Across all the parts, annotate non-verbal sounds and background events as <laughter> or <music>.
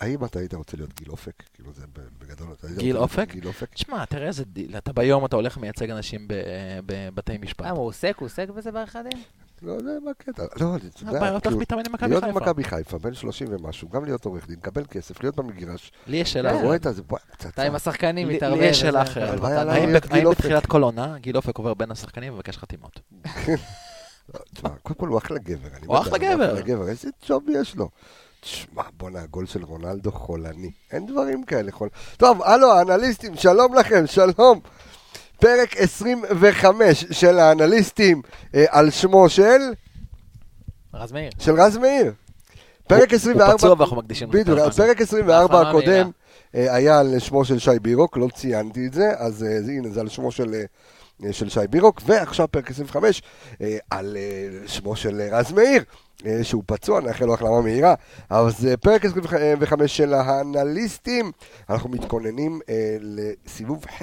האם אתה היית רוצה להיות גיל אופק? כאילו זה בגדול, אתה היית גיל רוצה להיות אופק? גיל אופק? תשמע, תראה איזה דיל, אתה ביום אתה הולך ומייצג אנשים ב- בבתי משפט. למה, אה, הוא עוסק? הוא עוסק בזה בעריכת דין? לא יודע מה הקטע. לא, אה, אני, אתה הבעיה יודע, אותך כאילו, מתאמן עם מכבי להיות חיפה. במכבי חיפה, בן 30 ומשהו, גם להיות עורך דין, לקבל כסף, להיות במגרש, לי יש שאלה. אתה כן. רואה את זה, בוא, אתה עם פצצה. השחקנים לי- לי מתערבב. יש שאלה וזה, אחרת. מקבל אבל היה מתנה. לה- האם להיות ב- גיל האם אופק. בתחילת כל עונה גיל אופק עובר בין השחקנים ומבקש חתימות? תשמע, קודם כל הוא אחלה גבר. אני הוא מת אחלה עליו, גבר. אחלה גבר, איזה ג'וב יש לו. תשמע, בואנה, הגול של רונלדו חולני. אין דברים כאלה חול... טוב, הלו, אנליסטים, שלום לכם, שלום. פרק 25 של האנליסטים אה, על שמו של... רז מאיר. של רז מאיר. פרק 24... הוא פצוע ואנחנו מקדישים לו את בדיוק, הזמן. הפרק 24 החלמה הקודם אה, היה על שמו של שי בירוק, לא ציינתי את זה, אז אה, זה- הנה, זה על שמו של... אה, אה, של שי בירוק, ועכשיו פרק 25 אה, על אה, שמו של אה, רז מאיר, אה, שהוא פצוע, נאחל לו החלמה מהירה. אז אה, פרק 25 של האנליסטים, אנחנו מתכוננים אה, לסיבוב ח'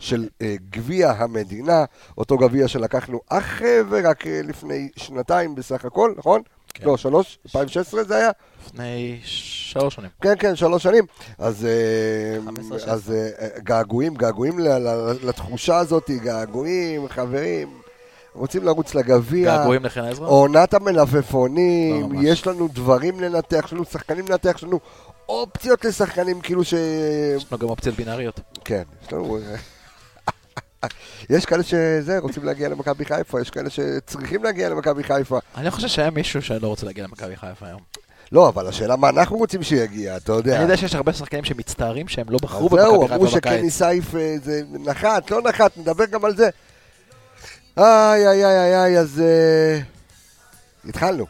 של אה, גביע המדינה, אותו גביע שלקחנו אך אה, ורק אה, לפני שנתיים בסך הכל, נכון? כן. לא, שלוש, 2016 זה היה? לפני שלוש שנים. כן, כן, שלוש שנים. אז, אה, 15, 16. אז אה, געגועים, געגועים ל- ל- לתחושה הזאת, געגועים, חברים, רוצים לרוץ לגביע. געגועים לחן עזרא? עונת לא המלפפונים, ממש. יש לנו דברים לנתח, יש לנו שחקנים לנתח, יש לנו אופציות לשחקנים, כאילו ש... יש לנו גם אופציות בינאריות. כן, יש לנו... <laughs> יש כאלה שזה, רוצים להגיע למכבי חיפה, יש כאלה שצריכים להגיע למכבי חיפה. אני לא חושב שהיה מישהו שלא רוצה להגיע למכבי חיפה היום. לא, אבל השאלה מה אנחנו רוצים שיגיע, אתה יודע. אני יודע שיש הרבה שחקנים שמצטערים שהם לא בחרו אז זהו, במכבי אמרו חיפה שקני בקיץ. סייף אה, זה נחת, לא נחת, נדבר גם על זה. איי, איי, איי, איי, איי, אז אה, התחלנו.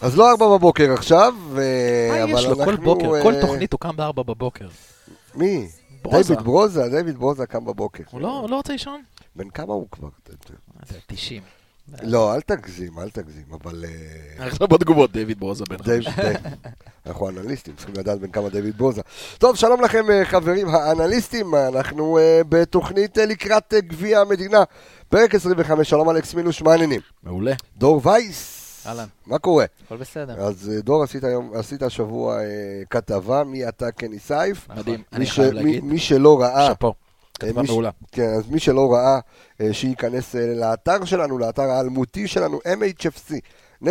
אז לא ארבע בבוקר עכשיו, אה, מה אבל יש לו? כל אנחנו, בוקר, אה, כל תוכנית הוא קם בארבע בבוקר. מי? ברוזה. דיוויד ברוזה, דיוויד ברוזה קם בבוקר. הוא לא הוא לא רוצה לישון? בן כמה הוא כבר? זה 90. לא, אל תגזים, אל תגזים, אבל... אה, עכשיו בתגובות דיוויד ברוזה בן דיוויד, דיוויד. אנחנו אנליסטים, צריכים לדעת בין כמה דיוויד בוזה. טוב, שלום לכם אה, חברים האנליסטים, אנחנו אה, בתוכנית אה, לקראת אה, גביע המדינה, פרק 25, שלום אלכס מילוש, מה העניינים? מעולה. דור וייס, אהלן. מה קורה? הכל בסדר. אז אה, דור, עשית היום- עשית השבוע אה, כתבה, מי אתה קני סייף? מדהים, מי אני ש- חייב מי- להגיד. מי שלא ראה, שאפו. כתבה מי ש- מעולה. כן, אז מי שלא ראה, אה, שייכנס אה, לאתר שלנו, לאתר האלמותי שלנו, mhfc.co.il,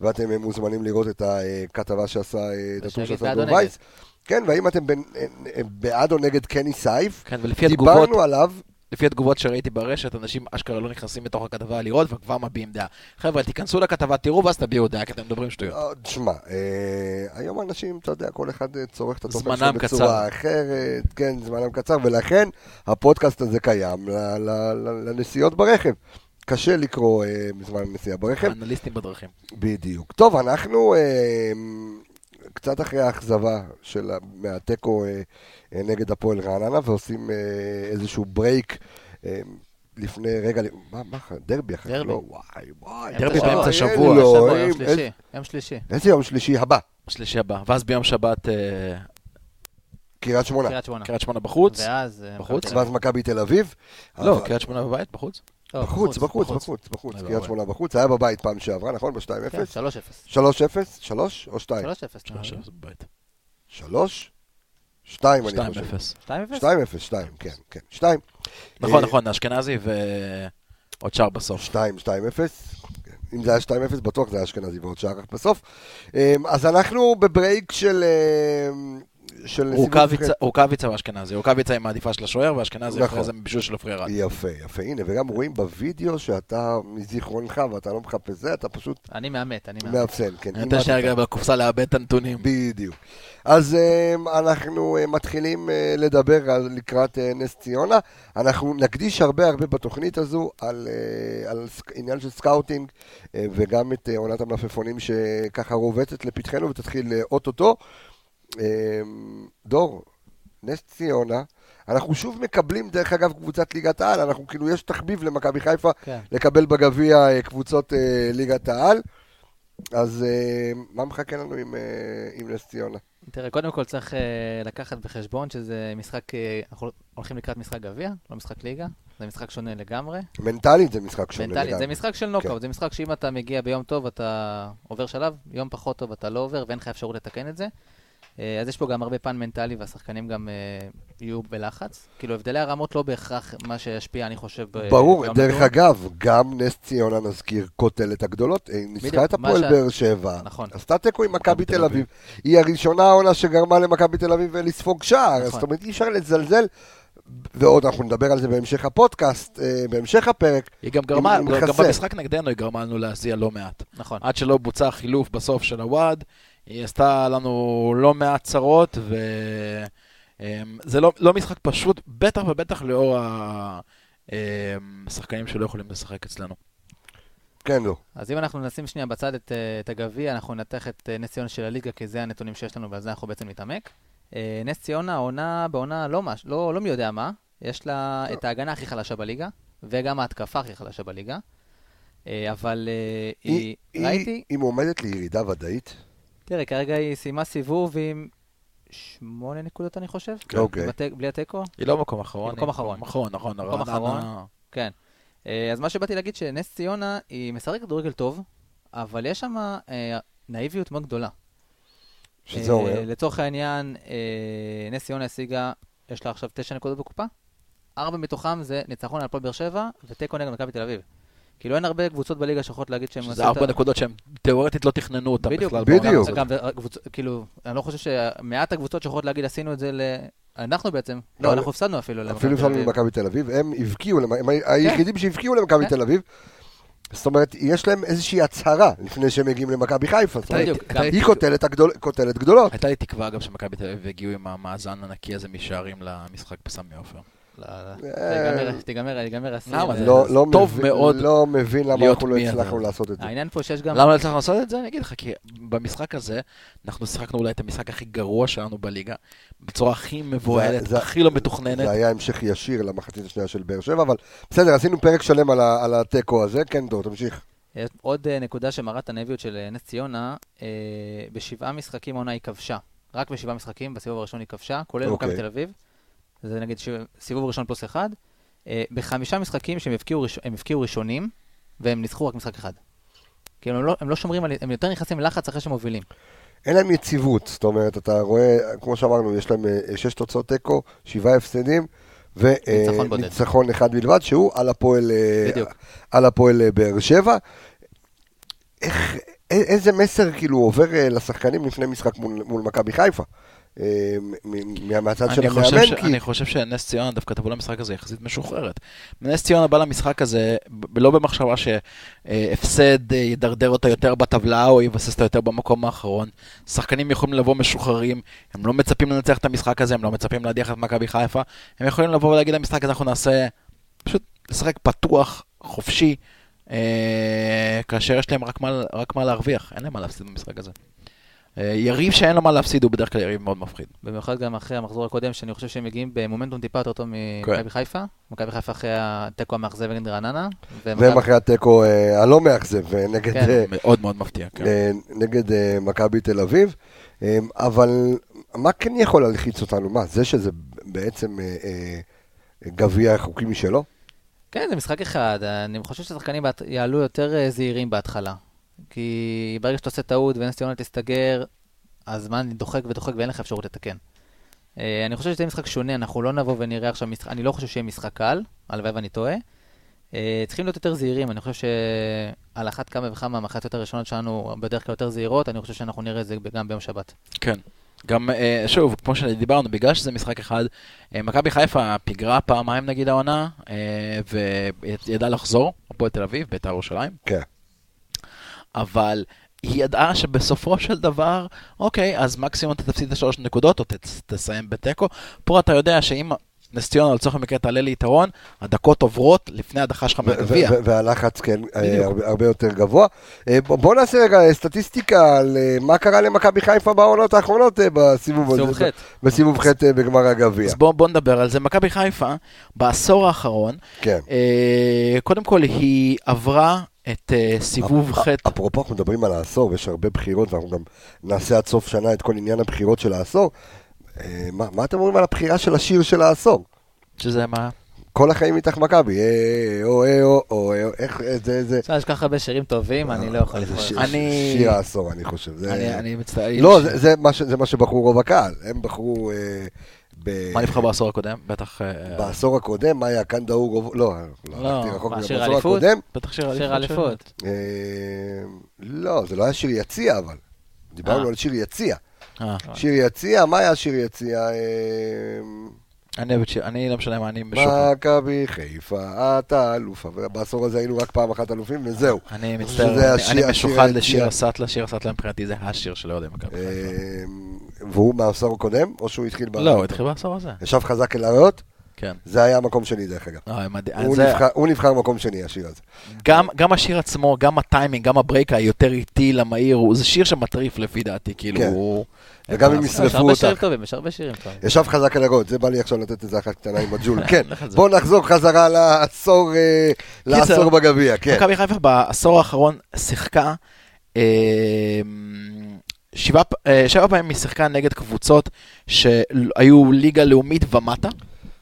ואתם אה, מוזמנים לראות את הכתבה שעשה, אה, את הטור ושנגיד שעשה בעד דור או וייס. כן, והאם אתם בין- אה, אה, בעד או נגד קני סייף, כן, ולפי התגובות, דיברנו עליו, לפי התגובות שראיתי ברשת, אנשים אשכרה לא נכנסים לתוך הכתבה לראות וכבר מביעים דעה. חבר'ה, תיכנסו לכתבה, תראו ואז תביעו דעה, כי אתם מדברים שטויות. אה, תשמע, אה, היום אנשים, אתה יודע, כל אחד אה, צורך את התוכן שלו זמנם בצורה קצר. אחרת, כן, זמנם קצר, ולכן הפודקאסט הזה קיים ל- ל- ל- לנסיעות ברכב. קשה לקרוא אה, בזמן הנסיעה ברכב. אנליסטים בדרכים. בדיוק. טוב, אנחנו אה, קצת אחרי האכזבה של, ה- מהתיקו אה, אה, נגד הפועל רעננה, ועושים אה, איזשהו ברייק אה, לפני רגע, ל- מה, מה, דרבי אחר כך? דרבי. לא, וואי, וואי. דרבי באמצע אין שבוע, לו, שבוע, יום אין- שלישי. יום שלישי. איזה יום שלישי הבא? שלישי הבא. ואז ביום שבת, אה, קריית שמונה. קריית שמונה. קריית שמונה בחוץ. ואז... אה, בחוץ? מכבי תל ואז מכבי תל אביב. לא, אבל- אה, קריית שמונה בבית, בחוץ. אביב. לא, בחוץ, בחוץ, בחוץ, בחוץ. לא, לא, קריית לא. שמונה בחוץ. היה בבית פעם שעברה, נכון? כן, ב-2-0? 3-0. 3-0? 3 או 2? 3-0. שמונה שבע זה בבית. 3? 2 אני שתיים חושב. אפס. 2-0? 2-0, 2, כן, כן. 2. נכון, אה, נכון, אשכנזי ועוד שער לא, בסוף. 2-2-0. אם זה היה 2-0, בטוח זה היה אשכנזי ועוד שער רק בסוף. אמ, אז אנחנו בברייק של... אמ, של רוקאביצה- רוקאביצה ואשכנזי. רוקאביצה עם העדיפה של השוער, ואשכנזי נכון. אחרי זה בישול של עופרי ארד. יפה, יפה. הנה, וגם רואים בווידאו שאתה מזיכרונך ואתה לא מחפש זה, אתה פשוט אני מאמת, אני מאמת. מאפסן, כן. אני אימדת. נותן שנייה רגע בקופסה לאבד את הנתונים. בדיוק. אז אמ, אנחנו אמ, מתחילים אה, לדבר על- לקראת אה, נס ציונה. אנחנו נקדיש הרבה הרבה בתוכנית הזו על, אה, על סק- עניין של סקאוטינג אה, וגם את אה, עונת המלפפונים שככה רובצת לפתחנו ותתחיל אה, אוטוטו. אמ, דור, נס ציונה. אנחנו שוב מקבלים, דרך אגב, קבוצת ליגת העל, אנחנו כאילו, יש תחביב למכבי חיפה כן. לקבל בגביע אה, קבוצות אה, ליגת העל. אז אה, מה מחכה לנו עם, אה, עם נס ציונה? תראה, קודם כל צריך אה, לקחת בחשבון שזה משחק, אה, אנחנו הולכים לקראת משחק גביע, לא משחק ליגה, זה משחק שונה לגמרי. מנטלית זה משחק שונה מנטלית, זה לגמרי. משחק של כן. נוקאוט, זה משחק שאם אתה מגיע ביום טוב אתה עובר שלב, יום פחות טוב אתה לא עובר ואין לך אפשרות לתקן את זה. אה, אז יש פה גם הרבה פן מנטלי והשחקנים גם אה, יהיו בלחץ. כאילו הבדלי הרמות לא בהכרח מה שישפיע, אני חושב, אה, ב- ברור, ביום דרך נתון. אגב, גם נס ציונה נזכיר כותלת הגדולות, היא ניצחה בדיוק, את מה הפועל שה- באר שבע, נכון. עשתה תיקו עם מכבי תל אביב, היא הראשונה העונה שגרמה למכבי תל אביב אה, לספוג שער, אז נכון. זאת אומרת אי אפשר לזלזל, ועוד אנחנו נדבר על זה בהמשך הפודקאסט, אה, בהמשך הפרק, היא גם גרמה, עם גם חסר. במשחק נגדנו היא גרמה לנו להזיע לא מעט. נכון. עד שלא בוצע החילוף בסוף של הוואד, היא עשתה לנו לא מעט צרות, וזה לא, לא משחק פשוט, בטח ובטח לאור השחקנים שלא יכולים לשחק אצלנו. כן לא, אז אם אנחנו נשים שנייה בצד את, אה, את הגביע, אנחנו ננתח את אה, נס ציונה של הליגה, כי זה הנתונים שיש לנו ועל זה אנחנו בעצם נתעמק. אה, נס ציונה עונה בעונה לא, מש, לא, לא מי יודע מה, יש לה את ההגנה הכי חלשה בליגה, וגם ההתקפה הכי חלשה בליגה. אה, אבל אה, היא, היא- ראיתי, היא מועמדת לירידה ודאית, תראה, כרגע היא סיימה סיבוב עם שמונה נקודות, אני חושב. אוקיי. בתי- בלי התיקו. היא לא מקום אחרון. היא מקום אחרון. נכון, נכון. מקום רעננה- אחרון. כן. אה, אז מה שבאתי להגיד שנס ציונה היא משחקת כדורגל טוב, אבל יש שם אה, נאיביות מאוד גדולה. שזה אה, אומר, לצורך העניין, אה, נס ציונה השיגה, יש לה עכשיו תשע נקודות בקופה. ארבע מתוכם זה ניצחון על הפועל באר שבע ותיקו נגד מכבי תל אביב. כאילו אין הרבה קבוצות בליגה שיכולות להגיד שהן... שזה ארבע נקודות שהם תיאורטית לא תכננו אותם בדיוק, בכלל. בדיוק. בעולם הזה. גם, הקבוצ- כאילו, אני לא חושב שמעט הקבוצות שיכולות להגיד עשינו את זה ל... אנחנו בעצם, לא, לא, אנחנו הפסדנו אפילו למכבי אפילו תל הפסדנו אביב. למכבי תל אביב, הם הבקיעו, למ- הם כן. היחידים שהבקיעו למכבי כן. תל אביב. זאת אומרת, יש להם איזושהי הצהרה לפני שהם מגיעים למכבי חיפה. זאת אומרת, בדיוק, הייתי- גם- היא כותלת הגדול- כותלת גדולות. הייתה לי תקווה, אגב, שמכבי תל אביב הגיעו עם המאזן הנקי הזה משערים למשחק בסמי עופר. לא, לא. תיגמר- תיגמר, ייגמר הסיר. למה? זה- לא- לא טוב מבין- מאוד לא מבין למה להיות אנחנו לא מי הצלחנו אתה. לעשות את זה. העניין פה שיש גם... למה לא הצלחנו לעשות את זה? אני אגיד לך, כי במשחק הזה, אנחנו שיחקנו אולי את המשחק הכי גרוע שלנו בליגה, בצורה הכי מבוהלת, זה- הכי לא זה מתוכננת. היה המשך ישיר למחצית השנייה של באר שבע, אבל בסדר, עשינו פרק שלם על ה- על התיקו הזה. כן, דור, תמשיך. עוד אה, נקודה שמראה את הנאיביות של אה, נס ציונה, אה, בשבעה משחקים העונה היא כבשה. רק בשבעה משחקים, בסיבוב הראשון היא כבשה, כולל אוקיי. מכבי תל אביב. זה נגיד ש- סיבוב ראשון פלוס אחד. אה, בחמישה משחקים שהם הבקיעו ראש- הם הבקיעו ראשונים, והם ניצחו רק משחק אחד. כאילו הם לא- הם לא שומרים על... הם יותר נכנסים ללחץ אחרי שהם מובילים. אין להם יציבות, זאת אומרת, אתה רואה, כמו שאמרנו, יש להם אה, שש תוצאות תיקו, שבעה הפסדים, ניצחון בודד. וניצחון אחד בלבד, שהוא על הפועל, אה, בדיוק. על הפועל אה, באר שבע. איך, א- איזה מסר כאילו עובר אה, לשחקנים לפני משחק מול, מול מכבי חיפה? אה, מ- מ- מהצד של אני חושב, ש... המאמן, כי אני חושב שנס ציונה דווקא תבוא למשחק הזה יחסית משוחררת. נס ציונה בא למשחק הזה ב- לא במחשבה שהפסד אה, ידרדר אותה יותר בטבלה או יבסס אותה יותר במקום האחרון. שחקנים יכולים לבוא משוחררים, הם לא מצפים לנצח את המשחק הזה, הם לא מצפים להדיח את מכבי חיפה. הם יכולים לבוא ולהגיד למשחק הזה אנחנו נעשה, פשוט לשחק פתוח, חופשי, אה, כאשר יש להם רק מה, רק מה להרוויח, אין להם מה להפסיד במשחק הזה. אה, יריב שאין לו מה להפסיד הוא בדרך כלל יריב מאוד מפחיד. במיוחד גם אחרי המחזור הקודם, שאני חושב שהם מגיעים במומנטום טיפה יותר טוב כן. ממכבי חיפה. מכבי חיפה אחרי התיקו המאכזב נגד רעננה. והם ומכבי- אחרי התיקו אה, הלא מאכזב, אה, נגד... כן. אה, מאוד מאוד מפתיע, כן. אה, נגד אה, מכבי תל אביב, אה, אבל מה כן יכול להלחיץ אותנו? מה, זה שזה בעצם אה, אה, גביע חוקי משלו? כן, זה משחק אחד. אני חושב שהשחקנים בהת- יעלו יותר אה, זהירים בהתחלה. כי ברגע שאתה עושה טעות ונס ציונה תסתגר, הזמן דוחק ודוחק ואין לך אפשרות לתקן. אה, אני חושב שזה יהיה משחק שונה, אנחנו לא נבוא ונראה עכשיו משחק, אני לא חושב שיהיה משחק קל, הלוואי ואני טועה. אה, צריכים להיות יותר זהירים, אני חושב שעל אחת כמה וכמה המחציות הראשונות שלנו בדרך כלל יותר זהירות, אני חושב שאנחנו נראה את זה גם ביום שבת. כן. גם, אה, שוב, כמו שדיברנו, בגלל שזה משחק אחד, אה, מכבי חיפה פיגרה פעמיים נגיד העונה, אה, וידעה לחזור, הפועל תל אביב, בית"ר ירושלים, כן. אבל היא ידעה שבסופו של דבר, אוקיי, אז מקסימום אתה תפסיד את השלוש נקודות, או תצ- תסיים בתיקו. פה אתה יודע שאם נס ציונה לצורך המקרה תעלה ליתרון, הדקות עוברות לפני הדחה שלך ו- מהגביע. ו- והלחץ, כן, אה, בדיוק. הרבה- הרבה יותר גבוה. אה, בוא- בוא נעשה רגע סטטיסטיקה על אה, מה קרה למכבי חיפה בעונות האחרונות אה, בסיבוב הזה. סיבוב ח'. בסיבוב ח' אה, בגמר הגביע. אז בואו בוא נדבר על זה. מכבי חיפה, בעשור האחרון, כן. אה, קודם כל היא עברה את אה, סיבוב ח'. אפרופו, אנחנו מדברים על העשור, ויש הרבה בחירות, ואנחנו גם נעשה עד סוף שנה את כל עניין הבחירות של העשור. אה, מה מה אתם אומרים על הבחירה של השיר של העשור? שזה מה? כל החיים איתך מכבי, אה, או, אה, או, או, אה, או, איך, אה, זה, זה. יש כל כך הרבה שירים טובים, אני לא יכול זה לפעול. שיר- אני- שיר העשור, אני חושב. זה- אני אני מצטער. אה, לא, זה- זה מה ש- זה מה שבחרו רוב הקהל, הם בחרו... אה, ב- מה נבחר בעשור הקודם? בטח... אה, בעשור הקודם, מה היה כאן דאור רוב... לא, לא, לא, הלכתי רחוק מה, מזה. שיר בעשור אליפות? הקודם, בטח שיר שיר אליפות. אליפות. אה, לא, זה לא היה שיר יציע, אבל. דיברנו אה. על שיר יציע. של- אה, שיר יציע, מה היה שיר יציע? אה, אני אוהב את שיר, אני לא משנה מה, אני משוחרר. מכבי חיפה, את האלופה. בעשור הזה היינו רק פעם אחת אלופים, וזהו. אני חושב מצטער, שזה אני- השיר- אני השיר משוחד היציאה. לשיר הסטלה, שיר הסטלה מבחינתי זה השיר של אוהדי מכבי חיפה. אה, והוא מהעשור הקודם, או שהוא התחיל ב... לא, הוא התחיל בעשור הזה. ישב חזק אל הריאות, כן. זה היה המקום שני, דרך אגב. אה, מדהים. הוא זה- נבחר- הוא נבחר מקום שני, השיר הזה. גם, גם השיר עצמו, גם הטיימינג, גם הברייק היותר איטי למהיר, הוא- זה שיר שמטריף לפי דעתי, כאילו כן. הוא... וגם אם אה, ישרפו יש הרבה אותך. שירים טובים, יש הרבה שירים טובים. ישב חזק על הריאות, זה בא לי עכשיו לתת איזה אחת קטנה עם הג'ול. כן, לך על זה. בואו נחזור חזרה לעשור, אה, קיצר, לעשור בגביע, כן. מכבי חיפה בעשור האחרון שיחקה, אה, שבעה פ- אה, שבע פעמים היא שיחקה נגד קבוצות שהיו ליגה לאומית ומטה,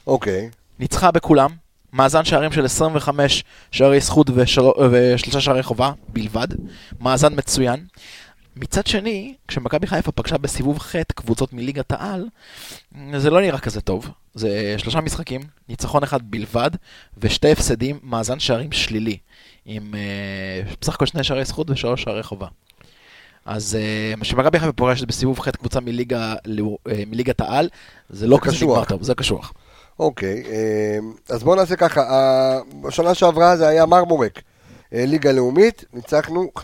אוקיי, ניצחה בכולם, מאזן שערים של 25 שערי זכות ושל... ושלושה שערי חובה בלבד, מאזן מצוין. מצד שני, כשמכבי חיפה פגשה בסיבוב ח' קבוצות מליגת העל, זה לא נראה כזה טוב. זה שלושה משחקים, ניצחון אחד בלבד, ושתי הפסדים, מאזן שערים שלילי, עם אה, בסך הכל שני שערי זכות ושלוש שערי חובה. אז אה, כשמכבי חיפה פוגשת בסיבוב ח' קבוצה מליגה, לאו- אה, מליגת העל, זה לא זה כזה קשוח. נגמר טוב, זה קשוח. אוקיי. אה, אז בואו נעשה ככה, ה- בשנה שעברה זה היה מרמורק, אה, ליגה לאומית, ניצחנו 5-0,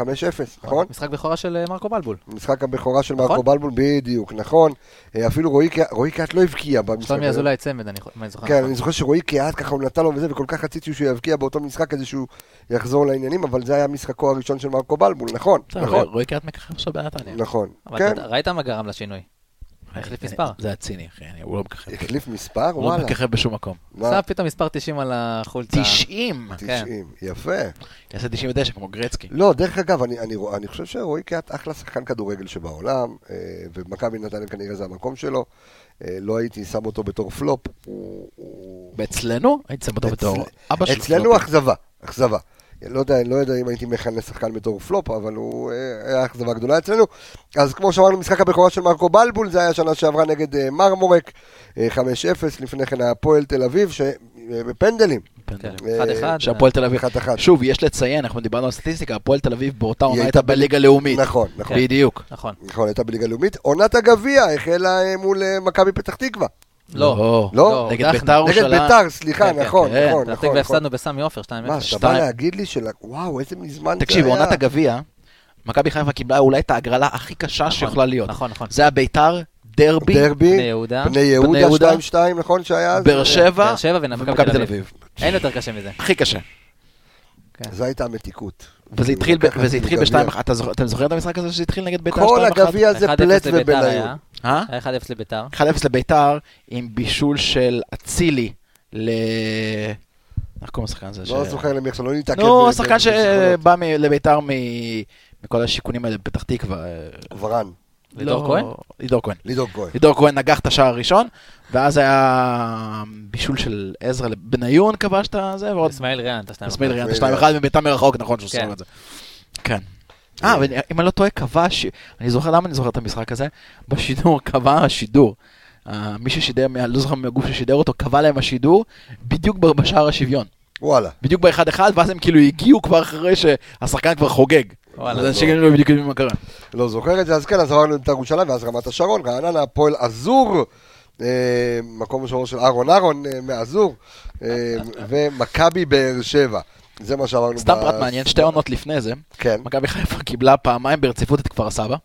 נכון? משחק בכורה של אה, מרקו בלבול. משחק הבכורה של נכון. מרקו בלבול, בדיוק, נכון. אה, אפילו רועי קיאט- רועי קיאט לא הבקיע במשחק שלומי הזה. אזולאי צמד, אני חו- אם אני זוכר. כן, נכון. אני זוכר שרועי קיאט ככה הוא נתן לו וזה, וכל כך רציתי שהוא יבקיע באותו משחק כדי שהוא יחזור לעניינים, אבל זה היה משחקו הראשון של מרקו בלבול, נכון, בסדר, נכון, רועי קריאת מככב עכשיו בנתניה. נכון. אבל כן, אתה- ראית מה גרם לשינוי. החליף לא. אני- מספר. זה היה ציני, אחי, אני- הוא לא מככב. החליף מספר? הוא לא וואלה. מככב בשום מקום. מה? שם פתאום מספר 90 על החולצה. 90! 90, יפה. יעשה 99 כמו גרצקי. לא, דרך אגב, אני, אני, רוא- אני חושב שרועי קיאט אחלה שחקן כדורגל שבעולם, אה, ומכבי נתניה כנראה זה המקום שלו. אה, לא הייתי שם אותו בתור פלופ. הוא- הוא- ואצלנו, הייתי שם אותו אצל- בתור אבא שלו. אצלנו אכזבה, אכזבה. לא יודע, לא יודע אם הייתי מכנה שחקן בתור פלופ, אבל הוא אה, היה אכזבה גדולה אצלנו. אז כמו שאמרנו, משחק הבכורה של מרקו בלבול, זה היה שנה שעברה נגד אה, מרמורק, אה, 5-0, לפני כן היה הפועל תל אביב, אה, שבפנדלים, פנדלים. אה, כן, אחד אחד. שהפועל תל אביב, 1-1. שוב, יש לציין, אנחנו דיברנו על סטטיסטיקה, הפועל תל אביב באותה היא עונה הייתה הייתה בליגה לאומית. כן. נכון, נכון. בדיוק. נכון. נכון, הייתה בליגה לאומית. עונת הגביע החלה אה, מול אה, מכבי פתח תקווה. לא. לא? נגד הודחנו. בית"ר נגד ירושלים. ביתר, סליחה, כן, כן, נכון, כן, נכון, פתח נכון. תקווה נכון. הפסדנו בסמי עופר 2-0. מה, שאתה בא שתיים. להגיד לי של... וואו, איזה מזמן זה תקשיב, היה. עונת הגביע, מכבי חיפה קיבלה אולי את ההגרלה הכי קשה נכון, שיכולה להיות. נכון, נכון. זה היה ביתר, דרבי, דרבי, בני יהודה. כן, בני בני יהודה, יהודה. 2-2, נכון שהיה אז? באר שבע באר שבע ומכבי תל אביב. אין יותר קשה מזה. הכי קשה. זו הייתה מתיקות. וזה התחיל, ב- לקחת וזה את התחיל הגביע. ב-2-1, אתה זוכר- אתם זוכרים את המשחק הזה שזה התחיל נגד ביתר 2-1? כל הגביע זה 1-0 פלט לביתר ובן היה. היו. אה? היה 1-0 לביתר. 1-0 לביתר עם בישול של אצילי ל... איך קוראים לשחקן הזה? לא זוכר למי עכשיו, לא נתעכב. נו, ב- ב- השחקן בזיכרונות. שבא מ- לביתר מ... מכל השיכונים האלה בפתח תקווה. אה, ורן, לידור לא- כהן? לידור כהן. לידור כהן. לידור כהן נגח את השער הראשון, ואז היה אה, בישול של עזרא לבניון כבש את הזה, ועוד אסמאעיל ריאן, את השתיים. אסמאעיל ריאן, אה? אסמאעיל 2-1 מביתה מרחוק, נכון שהוא כן. שם את זה. כן. אה, אבל אם אני לא טועה, כבש, אני זוכר למה אני זוכר את המשחק הזה, בשידור <laughs> קבע השידור. אה, מי ששידר, מה- לא זוכר מהגוף ששידר אותו, קבע להם השידור בדיוק ב- בשער השוויון. וואלה. בדיוק באחד אחד, ואז הם כאילו הגיעו כבר אחרי שהשחקן כבר חוגג. וואלה, אז אנשים כאילו לא בדיוק יודעים מה קרה. לא זוכר את זה, אז כן, אז עברנו את ירושלים, ואז רמת השרון, רעננה, הפועל עזור, אה, מקום ראשון של אהרון אהרון אה, מעזור, אה, ומכבי באר שבע. זה מה שאמרנו. סתם ב- פרט מעניין, שתי עונות לפני זה, כן. מכבי חיפה קיבלה פעמיים ברציפות את כפר סבא.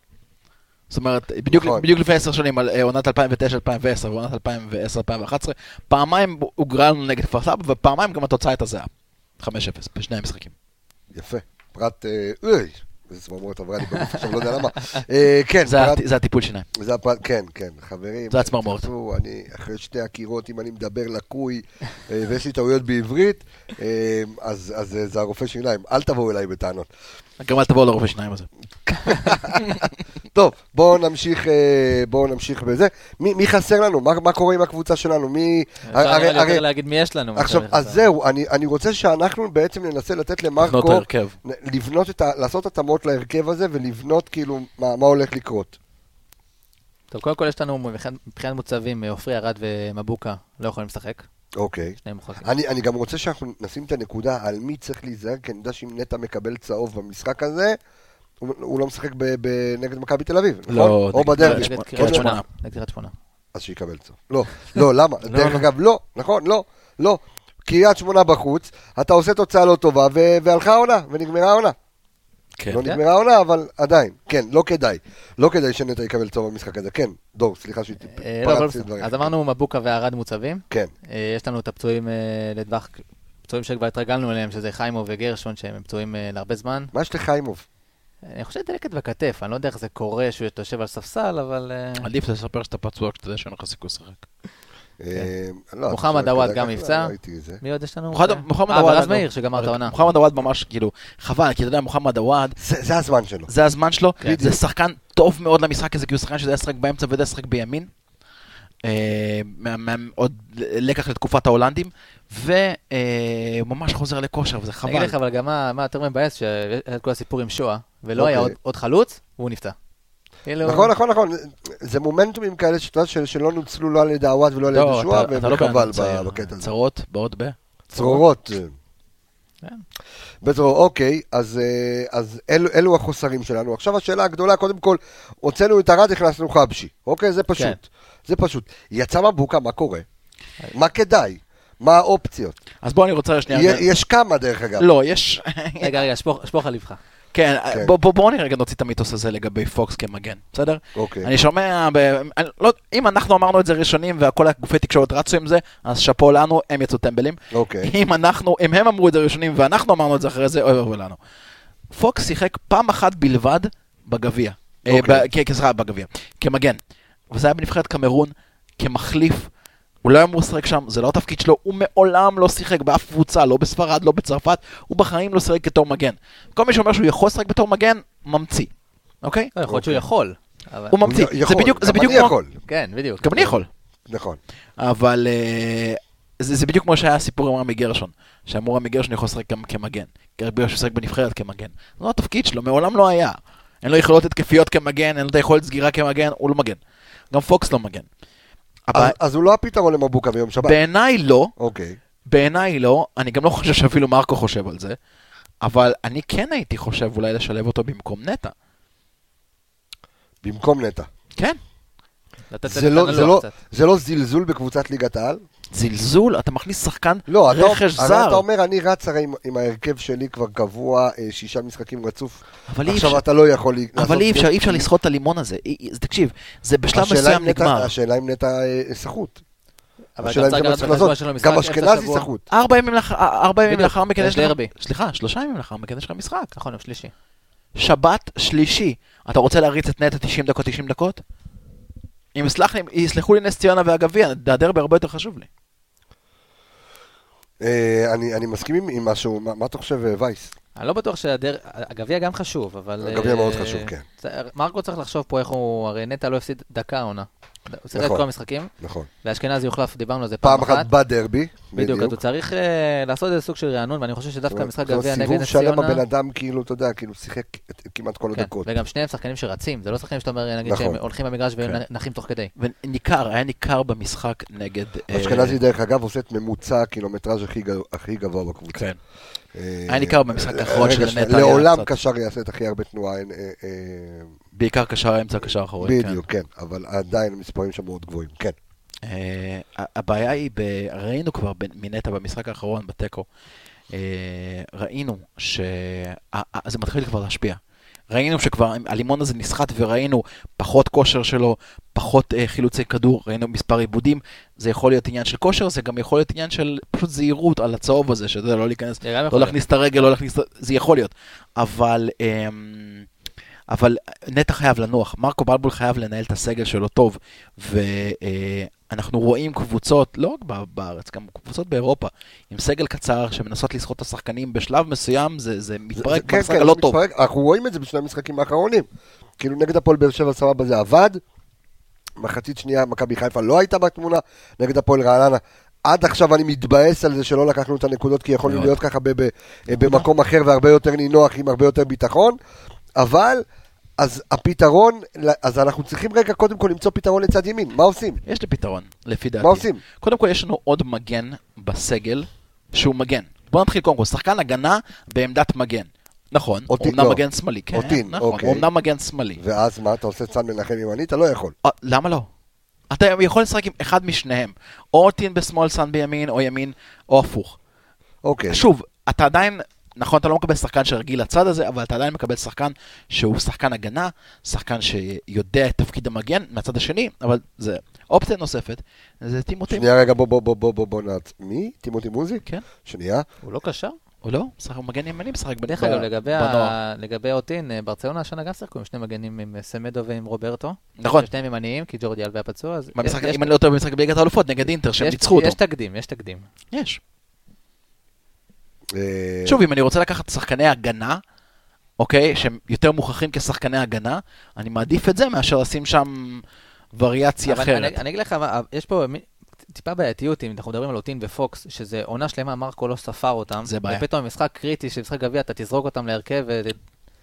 זאת אומרת, בדיוק, נכון. בדיוק לפני עשר שנים, על אה, עונת 2009-2010 ועונת 2010-2011, פעמיים הוגרלנו נגד כפר סבא, ופעמיים גם התוצאה הייתה זהה. 5-0, בשני המשחקים. יפה. פרט, אה, אוי, איזה צמרמורת עברה לי בגוף, עכשיו לא יודע למה. אה, כן, זה פרט- הט- זה הטיפול שיניים. זה הפרט, כן, כן, חברים. זה הצמרמורת. תעשו, אני אחרי שתי עקירות, אם אני מדבר לקוי אה, ויש לי טעויות בעברית, אה, אז אז, אה, זה הרופא שיניים, אל תבואו אליי בטענות. גם אל תבואו לרופא שיניים הזה. טוב, בואו נמשיך, אה, בואו נמשיך בזה. מי מי חסר לנו? מה מה קורה עם הקבוצה שלנו? מי... אפשר הרי- נראה לי הרי- יותר להגיד מי יש לנו. מאשר אה, עכשיו, לך. אז זהו, אני אני רוצה שאנחנו בעצם ננסה לתת לבנות למרקו, ההרכב. נ- לבנות את ה... לעשות התאמות להרכב הזה ולבנות כאילו מה מה הולך לקרות. טוב, קודם כל יש לנו מבחינת מבחינת מוצבים, אה, עופרי ארד ומבוקה לא יכולים לשחק, אוקיי. שניהם מורחקים. אני, אני גם רוצה שאנחנו נשים את הנקודה על מי צריך להיזהר, כי אני יודע שאם נטע מקבל צהוב במשחק הזה, הוא, הוא לא משחק ב, ב, נגד מכבי תל אביב, נכון? לא, או נגד- בדרבי. שמונה, נגד קריית קריית כן, שמונה. אה, שמונה. נגד קריית שמונה. אז שיקבל צהוב. לא, לא, למה? <laughs> לא, דרך לא. אגב, לא, נכון, לא, לא. קריית שמונה בחוץ, אתה עושה תוצאה לא טובה, ו- והלכה העונה, ונגמרה העונה. כן. לא נגמרה העונה, אבל עדיין, כן, לא כדאי. לא כדאי שנטע יקבל צהוב במשחק הזה. כן, דור, סליחה אה, לא, אבל שהתפרצתי בסדר. לדברים. אז אמרנו מבוקה וארד מוצבים. כן, אה, יש לנו את הפצועים אה, לטווח, פצועים שכבר התרגלנו אליהם, שזה חיימו וגרשון, שהם פצועים אה, להרבה זמן. מה יש לחיימוב? אני חושב דלקת בכתף, אני לא יודע איך זה קורה שהוא יושב על ספסל, אבל... אה, עדיף לספר שאתה פצוע כשאתה יודע שאין לך סיכוי לשחק. אה, לא, כן. מוחמד בסדר, עווד כדאי, גם לא, נפצע. לא ראיתי את זה. מי עוד יש לנו? מוחמד- אה, מוחמד אה, עוואד, ורז אגב. מאיר, שגמר את העונה. מוחמד עוואד ממש, כאילו, חבל, כי אתה יודע, מוחמד עוואד, זה זה הזמן שלו. זה הזמן שלו, כן. זה שחקן טוב מאוד למשחק הזה, כי הוא שחקן שיודע לשחק באמצע ויודע לשחק בימין. אה, מה- מה- עוד לקח לתקופת ההולנדים, והוא ממש חוזר לכושר, וזה אני אגיד חבל. לך, אבל גם אה, מה מה יותר מבאס, שהיה את כל הסיפור עם שואה, ולא אוקיי. היה עוד- עוד חלוץ, והוא נפצע. כאילו- נכון, נכון, נכון. זה מומנטומים כאלה שאתה יודע של- שלא נוצלו לא על ידי עווד ולא על ידי לא, שואה, אתה- אתה לא בן אדם וחבל צעיר. ב- בקטע הזה. צרות, בעוד ב... צרורות. כן. בטרור, אוקיי, אז, אה, אז אלו, אלו החוסרים שלנו. עכשיו השאלה הגדולה, קודם כל, הוצאנו את ארד, הכנסנו חבשי. אוקיי, זה פשוט. כן. זה פשוט. יצא מבוקה, מה קורה? מה כדאי? מה האופציות? אז בוא כן, אני רוצה שנייה... יה- יש כמה, דרך אגב. לא, יש... <laughs> רגע, רגע, שפוך שפוך על לבך. כן, כן. בוא- בוא- בואו נראה רגע נוציא את המיתוס הזה לגבי פוקס כמגן, בסדר? אוקיי. אני שומע, ב... אני לא... אם אנחנו אמרנו את זה ראשונים וכל הגופי תקשורת רצו עם זה, אז שאפו לנו, הם יצאו טמבלים. אוקיי. אם אנחנו, אם הם אמרו את זה ראשונים ואנחנו אמרנו את זה אחרי זה, אוי ואבוי לנו. פוקס שיחק פעם אחת בלבד בגביע. אה, אוקיי. ב- כן, סליחה, בגביע. כמגן. וזה היה בנבחרת קמרון, כמחליף. הוא לא היה אמור לשחק שם, זה לא התפקיד שלו, הוא מעולם לא שיחק באף קבוצה, לא בספרד, לא בצרפת, הוא בחיים לא שיחק כתור מגן. כל מי שאומר שהוא יכול לשחק בתור מגן, ממציא, אוקיי? לא, יכול להיות שהוא יכול. אבל- הוא ממציא, יכול, זה בדיוק, זה גם בדיוק אני כמו... יכול, כן, בדיוק. גם אני יכול. נכון. אבל אה, זה, זה בדיוק כמו שהיה הסיפור עם רמי גרשון, שאמרו רמי גרשון יכול לשחק גם כמגן, בגלל שהוא שיחק בנבחרת כמגן. זה לא התפקיד שלו, מעולם לא היה. אין לו יכולות התקפיות כמגן, אין לו את היכולת סגירה כמגן, הוא לא מגן. גם פוקס לא מגן. אז, הבע... אז הוא לא הפתרון למבוקה ביום שבת. בעיניי לא, אוקיי. בעיניי לא, אני גם לא חושב שאפילו מרקו חושב על זה, אבל אני כן הייתי חושב אולי לשלב אותו במקום נטע. במקום נטע. כן. לתת זה לנו לא, זה, לא, קצת. זה לא זלזול בקבוצת ליגת העל? זלזול, אתה מכניס שחקן לא, אתה, רכש הרי זר. אתה אומר, אני רץ הרי עם, עם ההרכב שלי כבר קבוע אה, שישה משחקים רצוף. אבל אי עכשיו אפשר- אתה לא יכול לי- לעשות אבל אי אפשר, כלום. אי אפשר לסחוט את הלימון הזה. אי- אי- זה- תקשיב, זה בשלב השאלה אם מסוים נטע- נגמר. השאלה אם נטע אה, סחוט. אבל השאלה גם אם זה מה צריך לקחת צריך בחשבון לעשות. של המשחק גם באמצע אשכנזי השבוע. סחוט. ארבע ימים לאח- אה, ארבע ימים בדיוק, לאחר מכן יש יש לך... דרבי. סליחה, שלושה ימים לאחר מכן יש לך משחק. נכון, יום שלישי. שבת, שלישי. אתה רוצה להריץ את נטע 90 דקות, 90 דקות? אם יסלח לי- יסלחו לי נס ציונה והגביע, הדרבי הרבה יותר חשוב לי. אה, אני אני מסכים עם- עם משהו, מה מה אתה חושב, אה, וייס? אני לא בטוח שהדר... הגביע גם חשוב, אבל... הגביע אה, מאוד חשוב, כן. צ- מרקו צריך לחשוב פה איך הוא... הרי נטע לא הפסיד דקה העונה. הוא הפסיד את נכון. כל המשחקים, נכון. ואשכנזי הוחלף, דיברנו על זה פעם אחת בדרבי, בדיוק, אז בדיוק. הוא צריך אה, לעשות איזה סוג של רענון, ואני חושב שדווקא משחק זאת אומרת, גביע נגד נס סיבוב שלם ציונה... הבן אדם, כאילו, אתה יודע, כאילו, שיחק את- כמעט כל כן, הדקות. וגם שניהם שחקנים שרצים, זה לא שחקנים שאתה אומר, נגיד, נכון. שהם הולכים במגרש והם כן. נחים תוך כדי. וניכר, היה ניכר במשחק נגד... אה, אשכנזי, דרך אגב, עושה את ממוצע הקילומטראז' הכי גב- הכי גבוה בקבוצה. כן. אה, היה ניכר במשחק רגע, האחרון של שנייה, נטע, היה לעולם קצת. קשר יעשה את הכי הרבה תנועה. אין, אה, אה, בעיקר קשר האמצע, קשר אחורי. כן. בדיוק, כן. אבל עדיין המספרים שם מאוד גבוהים, כן. אה, הבעיה היא, ב... ראינו כבר ב- מנטע במשחק האחרון בתיקו, אה, ראינו שזה מתחיל כבר להשפיע. ראינו שכבר הלימון הזה נסחט וראינו פחות כושר שלו, פחות אה, חילוצי כדור, ראינו מספר עיבודים, זה יכול להיות עניין של כושר, זה גם יכול להיות עניין של פשוט זהירות על הצהוב הזה, שאתה יודע, לא להיכנס, זה גם יכול לא להיות. להכניס את הרגל, לא להכניס, את- זה יכול להיות, אבל... אמ, אבל נטע חייב לנוח, מרקו בלבול חייב לנהל את הסגל שלו טוב, ואנחנו רואים קבוצות, לא רק ב- בארץ, גם קבוצות באירופה, עם סגל קצר שמנסות לסחוט את השחקנים, בשלב מסוים זה, זה מתפרק זה- כן, במשחק כן, הלא זה טוב. מתפרק. אנחנו רואים את זה בשני המשחקים האחרונים. כאילו נגד הפועל באר שבע סבבה זה עבד, מחצית שנייה מכבי חיפה לא הייתה בתמונה, נגד הפועל רעננה. עד עכשיו אני מתבאס על זה שלא לקחנו את הנקודות, כי יכולנו מאוד. להיות ככה ב- ב- במקום אחר והרבה יותר נינוח עם הרבה יותר ביטחון, אבל... אז הפתרון, אז אנחנו צריכים רגע קודם כל למצוא פתרון לצד ימין, מה עושים? יש לי פתרון, לפי דעתי. מה עושים? קודם כל, יש לנו עוד מגן בסגל שהוא מגן. בוא נתחיל קודם כל, שחקן הגנה בעמדת מגן. נכון, אותי- אומנם לא. מגן שמאלי, כן, אותין, נכון, אוקיי. אומנם מגן שמאלי. ואז מה, אתה עושה צאן מנחם ימני? אתה לא יכול. אה, למה לא? אתה יכול לשחק עם אחד משניהם, או טין בשמאל, סאן בימין, או ימין, או הפוך. אוקיי. שוב, אתה עדיין, נכון, אתה לא מקבל שחקן שרגיל לצד הזה, אבל אתה עדיין מקבל שחקן שהוא שחקן הגנה, שחקן שיודע את תפקיד המגן מהצד השני, אבל זה אופציה נוספת, זה טימוטים. שנייה רגע, בוא, בוא, בוא, בוא, בוא, בוא, נעצ... מי? טימותי מוזי? כן. שנייה. הוא לא קשר? או לא? משחק מגן ימני משחק ב- דרך אגב, ב- לגבי בנוער. ה- לגבי אוטין, אה, ברצלונה השנה גם שיחקו עם שני מגנים, עם אה, סמדו ועם רוברטו. נכון, ששניהם ימניים, כי ג'ורדי אלווה פצוע, אז... במשחק- יש- אם אני לא טועה במשחק בליגת האלופות נגד אינטר, שהם יש- ניצחו אותו. יש תקדים, יש תקדים. יש. אה, שוב, אם אני רוצה לקחת שחקני הגנה, אוקיי, שהם יותר מוכחים כשחקני הגנה, אני מעדיף את זה מאשר לשים שם וריאציה אבל אחרת. אני, אני אגיד לך, מה, אה, יש פה מי- טיפה בעייתיות אם אנחנו מדברים על לוטין ופוקס, שזה עונה שלמה, מרקו לא ספר אותם. זה בעיה. ופתאום משחק קריטי של משחק גביע, אתה תזרוק אותם להרכב. אה, ו-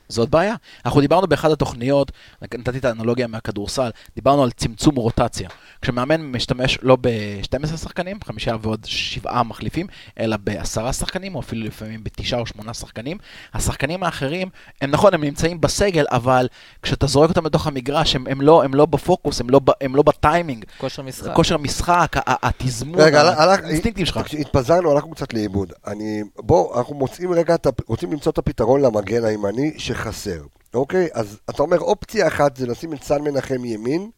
זאת בעיה. אנחנו דיברנו באחת התוכניות, נתתי את האנלוגיה מהכדורסל, דיברנו על צמצום רוטציה. כשמאמן משתמש לא ב-12 שחקנים, חמישה ועוד שבעה מחליפים, אלא בעשרה שחקנים, או אפילו לפעמים בתשעה או שמונה שחקנים. השחקנים האחרים, הם נכון, הם נמצאים בסגל, אבל כשאתה זורק אותם לתוך המגרש, הם, הם, לא, הם לא בפוקוס, הם לא, ב- הם לא בטיימינג. כושר משחק. כושר המשחק, ה- ה- התזמון, רגע, הלך- הלך- האינסטינקטים שלך. תקשיב, התפזרנו, הלכנו קצת לאיבוד. אני, בוא, אנחנו מוצאים רגע, את הפ- רוצים למצוא את הפתרון למגן הימני שחסר. אוקיי? אז אתה אומר, אופציה אחת זה לשים את סן מנחם ימין,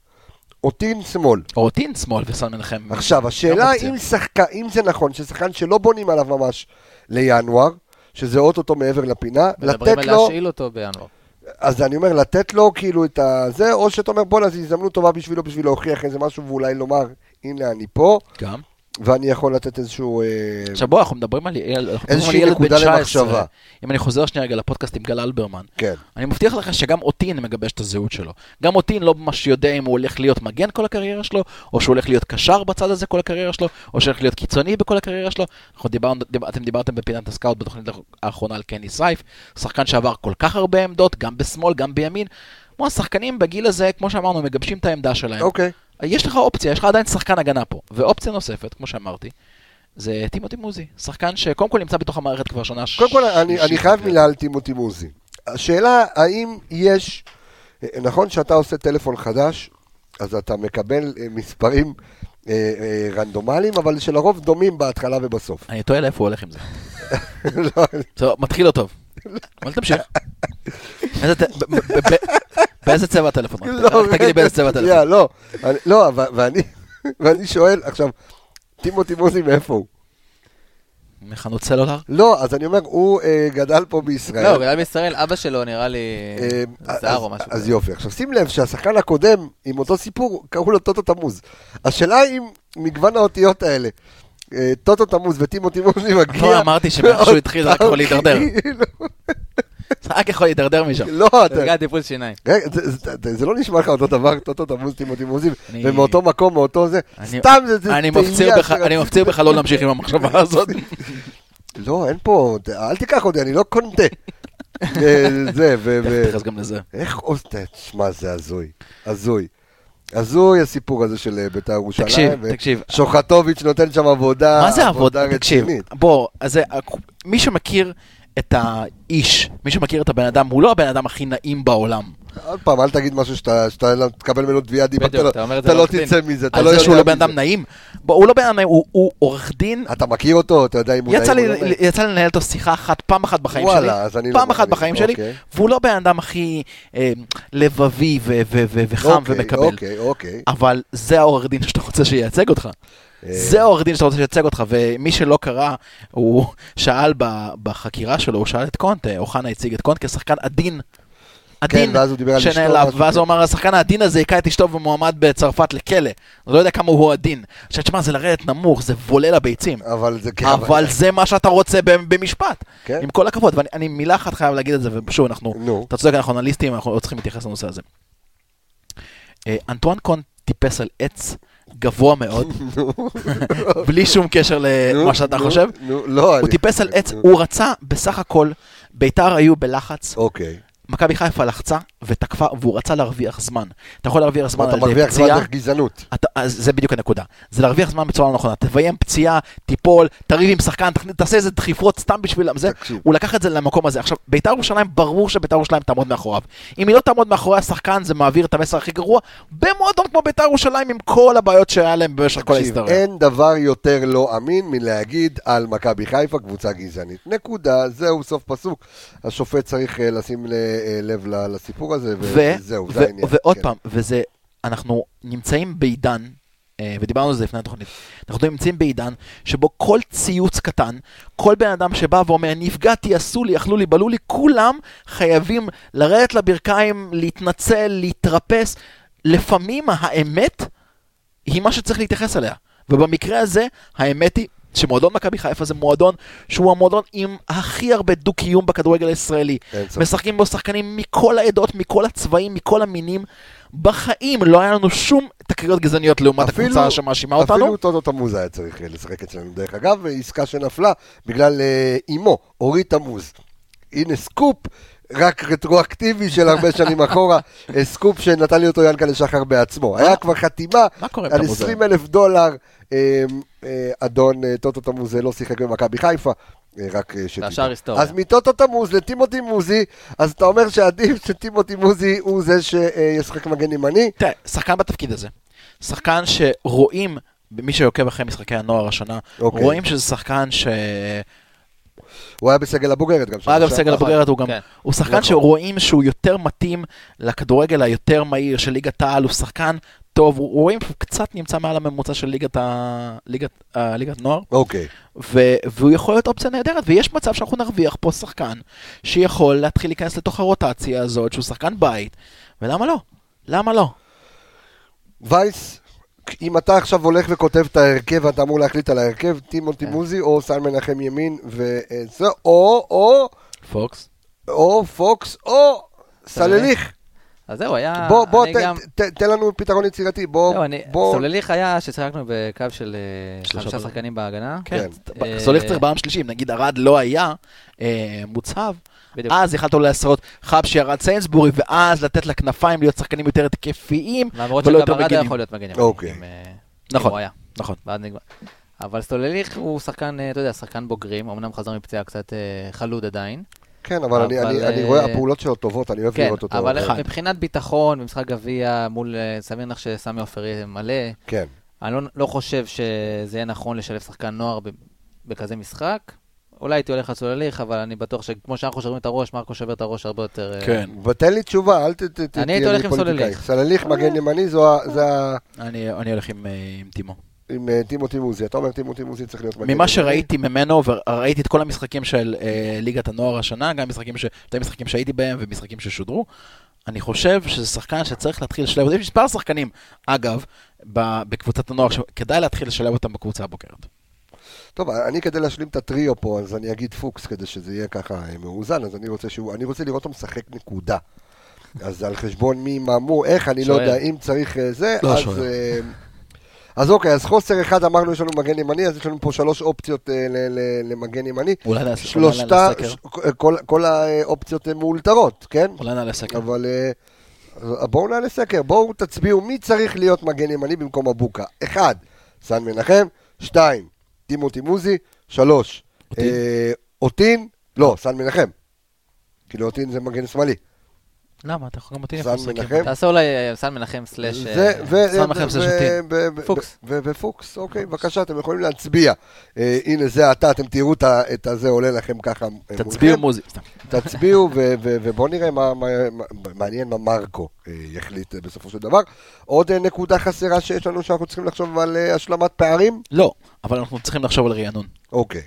אותין שמאל. או טין שמאל וסן מנחם. עכשיו, Mm, גם השאלה אופציה. אם, שחק... אם זה נכון ששחקן שלא בונים עליו ממש לינואר, שזה אוטוטו מעבר לפינה, לתת מדברים על לו, להשאיל אותו בינואר. אז אני אומר, לתת לו כאילו את ה... זה, או שאתה אומר, בואנה, זו הזדמנות טובה בשבילו, בשביל להוכיח איזה משהו, ואולי לומר, הנה אני פה, גם. ואני יכול לתת איזשהו... אה, עכשיו בוא, אנחנו מדברים על ילד, אנחנו מדברים על איזושהי ילד בן נקודה 19. למחשבה. אם אני חוזר שנייה רגע לפודקאסט עם גל אלברמן, כן. אני מבטיח לך שגם אותין מגבש את הזהות שלו. גם אותין לא ממש יודע אם הוא הולך להיות מגן כל הקריירה שלו, או שהוא הולך להיות קשר בצד הזה כל הקריירה שלו, או שהוא הולך להיות קיצוני בכל הקריירה שלו. אנחנו דיברנו, דיבר, אתם דיברתם בפינת הסקאוט בתוכנית האחרונה על קני סייף, שחקן שעבר כל כך הרבה עמדות, גם בשמאל, גם בימין. כמו השחקנים בגיל הזה, כמו שאמרנו, מגבשים את העמדה שלהם. אוקיי. יש לך אופציה, יש לך עדיין שחקן הגנה פה. ואופציה נוספת, כמו שאמרתי, זה טימותי מוזי. שחקן שקודם כל נמצא בתוך המערכת כבר שנה קודם כל, אני, שלישית. אני חייב מילה על טימותי מוזי. השאלה, האם יש... נכון שאתה עושה טלפון חדש, אז אתה מקבל אה, מספרים אה, אה, רנדומליים, אבל שלרוב דומים בהתחלה ובסוף. <laughs> אני תוהה לאיפה הוא הולך עם זה. לא, טוב, מתחיל לא טוב. אבל תמשיך. איזה ט- ב- ב- ב- באיזה צבע הטלפון? לא, רק תגיד לי באיזה צבע הטלפון. שנייה, לא, אני- לא, ו- ואני, <laughs> ואני שואל, עכשיו, טימותי מוזי מאיפה הוא? מחנות סלולר? לא, אז אני אומר, הוא אה, גדל פה בישראל. לא, הוא גדל בישראל, אבא שלו נראה לי אה, זר אז- או משהו אז כזה. יופי. עכשיו שים לב שהשחקן הקודם, עם אותו סיפור, קראו לו טוטו תמוז. השאלה אם מגוון האותיות האלה, אה, טוטו תמוז וטימותי <laughs> מוזי מגיע... לא, אמרתי שמאיך שהוא התחיל זה רק יכול להידרדר. כאילו, זה רק יכול להידרדר משם. לא, זה אתה... בגלל טיפול שיניים. רגע, זה- זה- זה- זה לא נשמע לך אותו דבר, טוטו תמוז, טימותי מוזי, אני- ומאותו מקום, מאותו זה, אני- סתם זה זה אני תהייה מפציר בך- שרציתי- אני מפציר בך לא להמשיך עם <laughs> המחשבה הזאת. לא, אין פה, אל תיקח אותי, אני לא <laughs> קונטה. אה, זה, ו... תכף ו- נתייחס גם לזה. איך אוסטה, תשמע, זה הזוי. הזוי. הזוי הסיפור הזה של אה, בית"ר ירושלים. תקשיב, ו- תקשיב, שוחטוביץ' נותן שם אה, עבודה, מה זה עבודה? תקשיב, רצינית. בוא, אז זה- אה, מי שמכיר את האיש, מי שמכיר את הבן אדם, הוא לא הבן אדם הכי נעים בעולם. עוד פעם, אל תגיד משהו שאתה שאתה לא תקבל ממנו תביעת דיבה, בדיוק, אתה לא- אתה אומר את זה אתה לא לעורך דין. תצא מזה, אתה על לא זה יודע שהוא לא בן מזה. אדם נעים. בוא, הוא לא בן אדם נעים, הוא- הוא עורך דין. אתה מכיר אותו, אתה יודע אם הוא יצא נעים לי, או לא נעים. יצא לי לנהל איתו שיחה אחת, פעם אחת בחיים שלי, וואלה, אז אני לא פעם אחת מאמין. בחיים שלי, אוקיי. והוא לא בן אדם הכי אה, לבבי ו- ו- ו- וחם אוקיי, ומקבל, אוקיי, אוקיי. אבל זה העורך דין שאתה רוצה שייצג אותך. אה, אה. זה העורך דין שאתה רוצה שייצג אותך, ומי שלא קרא, הוא שאל ב- בחקירה שלו, הוא שאל את קונט, אה, אוחנה הציג את קונט כשחקן עדין. עדין כן, ואז הוא דיבר על אשתו, שנעלב, משהו ואז הוא כזה. אמר, השחקן העדין הזה הכה את אשתו ומועמד בצרפת לכלא. אני לא יודע כמה הוא עדין. עכשיו, תשמע, זה לרדת נמוך, זה בולה לביצים. אבל זה כן, אבל זה מה שאתה רוצה ב- במשפט. כן. עם כל הכבוד, ואני אני מילה אחת חייב להגיד את זה, ושוב, אנחנו, נו, אתה צודק, אנחנו אנליסטים, אנחנו לא צריכים להתייחס לנושא הזה. אה, אנטואן קונט טיפס על עץ גבוה <laughs> מאוד, בלי שום קשר נו, למה שאתה נו, חושב. נו, לא, הוא אני- טיפס על עץ, נו. הוא רצה בסך הכל, ביתר היו בלחץ, אוקיי. מכבי חיפה לחצה ותקפה, והוא רצה להרוויח זמן. אתה יכול להרוויח זמן אתה על אה, מרוויח זמן פציעה, דרך גזענות. אתה, אז זה בדיוק הנקודה. זה להרוויח זמן בצורה לא נכונה. תביים פציעה, תיפול, תריב עם שחקן, תכנ- תעשה איזה דחיפות סתם בשביל זה. תקשיב. הוא לקח את זה למקום הזה. עכשיו, ביתר ירושלים, ברור שביתר ירושלים תעמוד מאחוריו. אם היא לא תעמוד מאחורי השחקן, זה מעביר את המסר הכי גרוע במועדון כמו ביתר ירושלים, עם כל הבעיות שהיה להם במשך כל תקשיב, ההיסטוריה. אין דבר יותר לא אמין מלהגיד על מכבי חיפה קבוצה גזענית. נקודה, זהו סוף פסוק. השופט צריך אה, לשים ל- אה, לב ל- לסיפור הזה, ו- וזהו, זה ו- העניין. ועוד כן. פעם, וזה, אנחנו נמצאים בעידן, אה, ודיברנו על זה לפני התוכנית, אנחנו נמצאים בעידן שבו כל ציוץ קטן, כל בן אדם שבא ואומר, נפגעתי, עשו לי, אכלו לי, בלעו לי, כולם חייבים לרדת לברכיים, להתנצל, להתרפס. לפעמים האמת היא מה שצריך להתייחס אליה. ובמקרה הזה, האמת היא שמועדון מכבי חיפה זה מועדון שהוא המועדון עם הכי הרבה דו-קיום בכדורגל הישראלי. אין ספק. משחקים בו שחקנים מכל העדות, מכל הצבעים, מכל המינים. בחיים לא היה לנו שום תקריות גזעניות לעומת אפילו- הקבוצה שמאשימה אותנו. אפילו טוטו תמוז היה צריך אה, לשחק אצלנו. דרך אגב, עסקה שנפלה בגלל אה, אימו, אורית תמוז. הנה סקופ, רק רטרואקטיבי של הרבה שנים <laughs> אחורה, אה, סקופ שנתן לי אותו ינקלה שחר בעצמו. אה? היה כבר חתימה מה קורה עם על תמוז? 20 אלף דולר. אה, אה, אדון אה, טוטו תמוז אה, לא שיחק במכבי חיפה, אה, רק אה, שתדעו. והשאר היסטוריה. אז מטוטו תמוז לטימותי מוזי, אז אתה אומר שעדיף שטימותי מוזי הוא זה שישחק מגן ימני? תראה, שחקן בתפקיד הזה. שחקן שרואים, מי שעוקב אחרי משחקי הנוער השנה, אוקיי. רואים שזה שחקן ש... הוא היה בסגל הבוגרת גם. אגב, שם. סגל נכון, הבוגרת הוא גם, כן. הוא שחקן נכון. שרואים שהוא יותר מתאים לכדורגל היותר מהיר של ליגת העל, הוא שחקן טוב, הוא- רואים שהוא קצת נמצא מעל הממוצע של ליגת ה- ליגת- אה, ליגת נוער. אוקיי. ו- והוא יכול להיות אופציה נהדרת, ויש מצב שאנחנו נרוויח פה שחקן שיכול להתחיל להיכנס לתוך הרוטציה הזאת, שהוא שחקן בית, ולמה לא? למה לא? וייס, אם אתה עכשיו הולך וכותב את ההרכב, אתה אמור להחליט על ההרכב, טימותי מוזי או סן מנחם ימין, וזה, או, או, פוקס. או פוקס, או סלליך. אז זהו, היה... בוא, בוא, אה, אני ת- גם- ת- תן לנו פתרון יצירתי, בוא, זהו, לא, אני- בוא, סולליך היה ששיחקנו בקו של אה, שלושה חמישה בלמים. שחקנים בהגנה. כן. אה, סולח צריך בעם שלישי, אם נגיד ארד לא היה אה, מוצהב, בדיוק. אה, אז יכלת אולי לעשות חבשי ארד סיינסבורי, ואז לתת לכנפיים להיות שחקנים יותר התקפיים, למרות ולא יותר שגם ברדה מגנים. יכול להיות מגן ימני. אוקיי. אם, אה, אם נכון. הוא היה. נכון. ואז נגמר. אבל סולליך הוא שחקן, אה, אתה יודע, שחקן בוגרים, אמנם חזר מפציעה קצת אה, חלוד עדיין. כן, אבל אני- אבל, אני- אה, אני רואה, הפעולות שלו טובות, אני אוהב כן, לראות אותו. אבל חי. מבחינת ביטחון, במשחק גביע, מול, אה, סביר לך שסמי עופר יהיה מלא, כן, אני לא, לא חושב שזה יהיה נכון לשלב שחקן נוער ב, בכזה משחק. אולי הייתי הולך לסולליך, אבל אני בטוח שכמו שאנחנו שוברים את הראש, מרקו שובר את הראש הרבה יותר... אה, כן. ותן לי תשובה, אל ת- ת- ת- אני תהיה הייתי הולך לי עם פוליטיקאי. סלליך. סלליך, מגן ימני, זו ה- זה ה... אני אני הולך עם אה, עם טימו. עם אה, טימותי מוזי, אתה אומר טימותי מוזי צריך להיות מגן ימני. ממה שראיתי ממנו, וראיתי את כל המשחקים של אה, ליגת הנוער השנה, גם משחקים ש... שתי משחקים שהייתי בהם ומשחקים ששודרו, אני חושב שזה שחקן שצריך להתחיל לשלב אותו. יש מספר שחקנים, אגב, ב... בקבוצת הנוער, שכדאי להתחיל לשלב אותם בקבוצה הבוגרת. טוב, אני כדי להשלים את הטריו פה, אז אני אגיד פוקס כדי שזה יהיה ככה אה, מאוזן, אז אני רוצה, שהוא, אני רוצה לראות אותו משחק נקודה. אז על חשבון מי, מה, מו, איך, אני לא שוער. יודע, אם צריך אה, זה, לא, אז... שוער. אה, אז אוקיי, אז חוסר אחד אמרנו, יש לנו מגן ימני, אז יש לנו פה שלוש אופציות אה, ל- ל- למגן ימני. אולי נעשה- שלושתה, אולי נעשה סקר. ש- כל- כל אה, האופציות הן מאולתרות, כן? אולי נעלה סקר. אבל אה, אז בואו נעלה סקר, בואו תצביעו מי צריך להיות מגן ימני במקום אבוקה. אחד, סן מנחם, שתיים, טימותי מוזי, שלוש, אותין? אה, אותין, לא, סן מנחם. כאילו אותין זה מגן שמאלי. למה? אתה יכול גם אותי סן איפה לשחק. מנחם? תעשה אולי אה, סן מנחם סלאש... כן. אה, זה, ו- סתם לכם זה ו- שותים. ו- ו- פוקס. ו- ופוקס, אוקיי, בבקשה, אתם יכולים להצביע. אה, הנה, זה אתה, אתם תראו את ה- את הזה עולה לכם ככה. אה, תצביעו מולכם. מוזי. סתם. תצביעו, ו- ו- ובואו נראה מה, מה, מה, מעניין מה מרקו אה, יחליט אה, בסופו של דבר. עוד אה, נקודה חסרה שיש לנו שאנחנו צריכים לחשוב על אה, השלמת פערים? לא, אבל אנחנו צריכים לחשוב על רענון. אוקיי.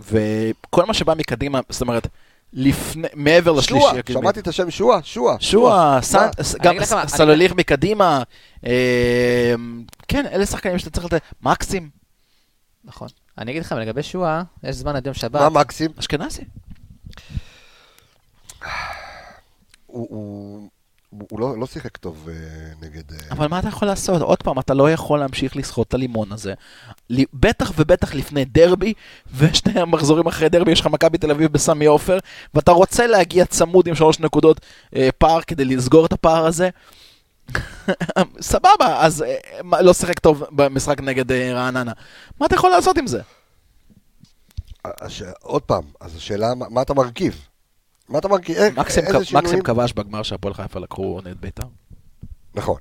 וכל מה שבא מקדימה, זאת אומרת, לפני, מעבר לא, לשלישי. שועה, הקדמי. שמעתי את השם שועה, שועה. שועה, סן- מה? ס- אני גם אגיד לך מה, אני- סלוליך מקדימה. אה, כן, אלה שחקנים שאתה צריך לתת. מקסים, נכון. אני אגיד לכם, לגבי שועה, יש זמן עד יום שבת. מה מקסים? אשכנזי. הוא- הוא הוא- הוא לא- לא שיחק טוב אה, נגד... אה, אבל מה אתה יכול לעשות? עוד פעם, אתה לא יכול להמשיך לסחוט את הלימון הזה. ל- בטח ובטח לפני דרבי, ושני המחזורים אחרי דרבי, יש לך מכבי תל אביב בסמי עופר, ואתה רוצה להגיע צמוד עם שלוש נקודות אה, פער כדי לסגור את הפער הזה. <laughs> סבבה, אז אה, מה, לא שיחק טוב במשחק נגד אה, רעננה. מה אתה יכול לעשות עם זה? הש- עוד פעם, אז השאלה, מה מה אתה מרכיב? מה אתה מרכיב? איך- מקסים איזה כ- שינויים? מקסים כבש בגמר שהפועל חיפה לקחו נגד בית"ר. נכון.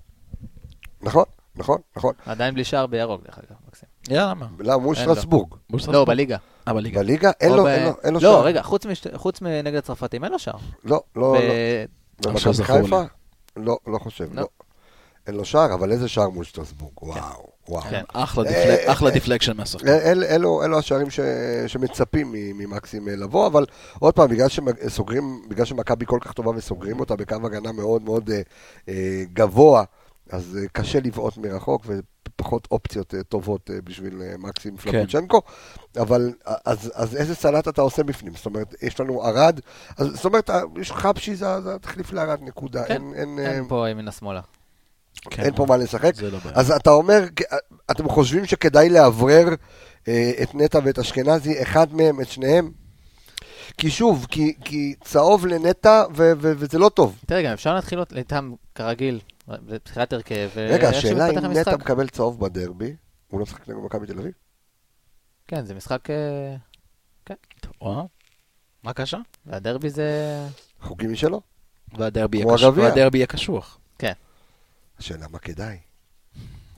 נכון, נכון, נכון. עדיין בלי שער בירוק, דרך אגב, מקסים. יאללה, מה? לא, מול אין לו. שטרסבורג. לא, בליגה. אה, בליגה. בליגה? אין או לו, ב- אין לו, אין לו לא, שער. רגע, חוץ משת- חוץ מנגד הצרפתים, אין לו שער. לא, לא, לא. ב- עכשיו במכבי זכור לי. חיפה? לא, לא חושב, לא. לא. אין לו שער, אבל איזה שער מול שטרסבורג? וואו, וואו. כן, אחלה אה, דיפלק- אה, אחלה אה, דיפלקשן מהשחקן. אל, אלו, אלו השערים ש, שמצפים מ- ממקסים אה, לבוא, אבל עוד פעם, בגלל, שסוגרים, בגלל שמכבי כל כך טובה וסוגרים אותה בקו הגנה מאוד מאוד אה, אה, גבוה, אז אה, קשה לבעוט מרחוק ופחות אופציות אה, טובות אה, בשביל אה, מקסים פלבוצ'נקו, אבל אה, אז, אז איזה סלט אתה עושה בפנים? זאת אומרת, יש לנו ערד, אז, זאת אומרת, אה, יש חבשי זה זה התחליף לערד, נקודה. כן, אין, אין, אה, אין פה ימינה שמאלה. כן, אין פה מה לשחק. זה לא בעיה. אז אתה אומר, אתם חושבים שכדאי לאוורר אה, את נטע ואת אשכנזי, אחד מהם, את שניהם? כי שוב, כי, כי צהוב לנטע, ו- ו- וזה לא טוב. תראה, גם אפשר להתחיל אות- איתם כרגיל, בבחירת הרכב. ו- רגע, איך השאלה אם שמתפתח המשחק. נטע מקבל צהוב בדרבי, הוא לא משחק נגד מכבי תל אביב? כן, זה משחק... אה, וואו. מה קשה? והדרבי זה... חוקים משלו? והדרבי יהיה כמו קשוח. הגביע. והדרבי יהיה קשוח. השאלה מה כדאי?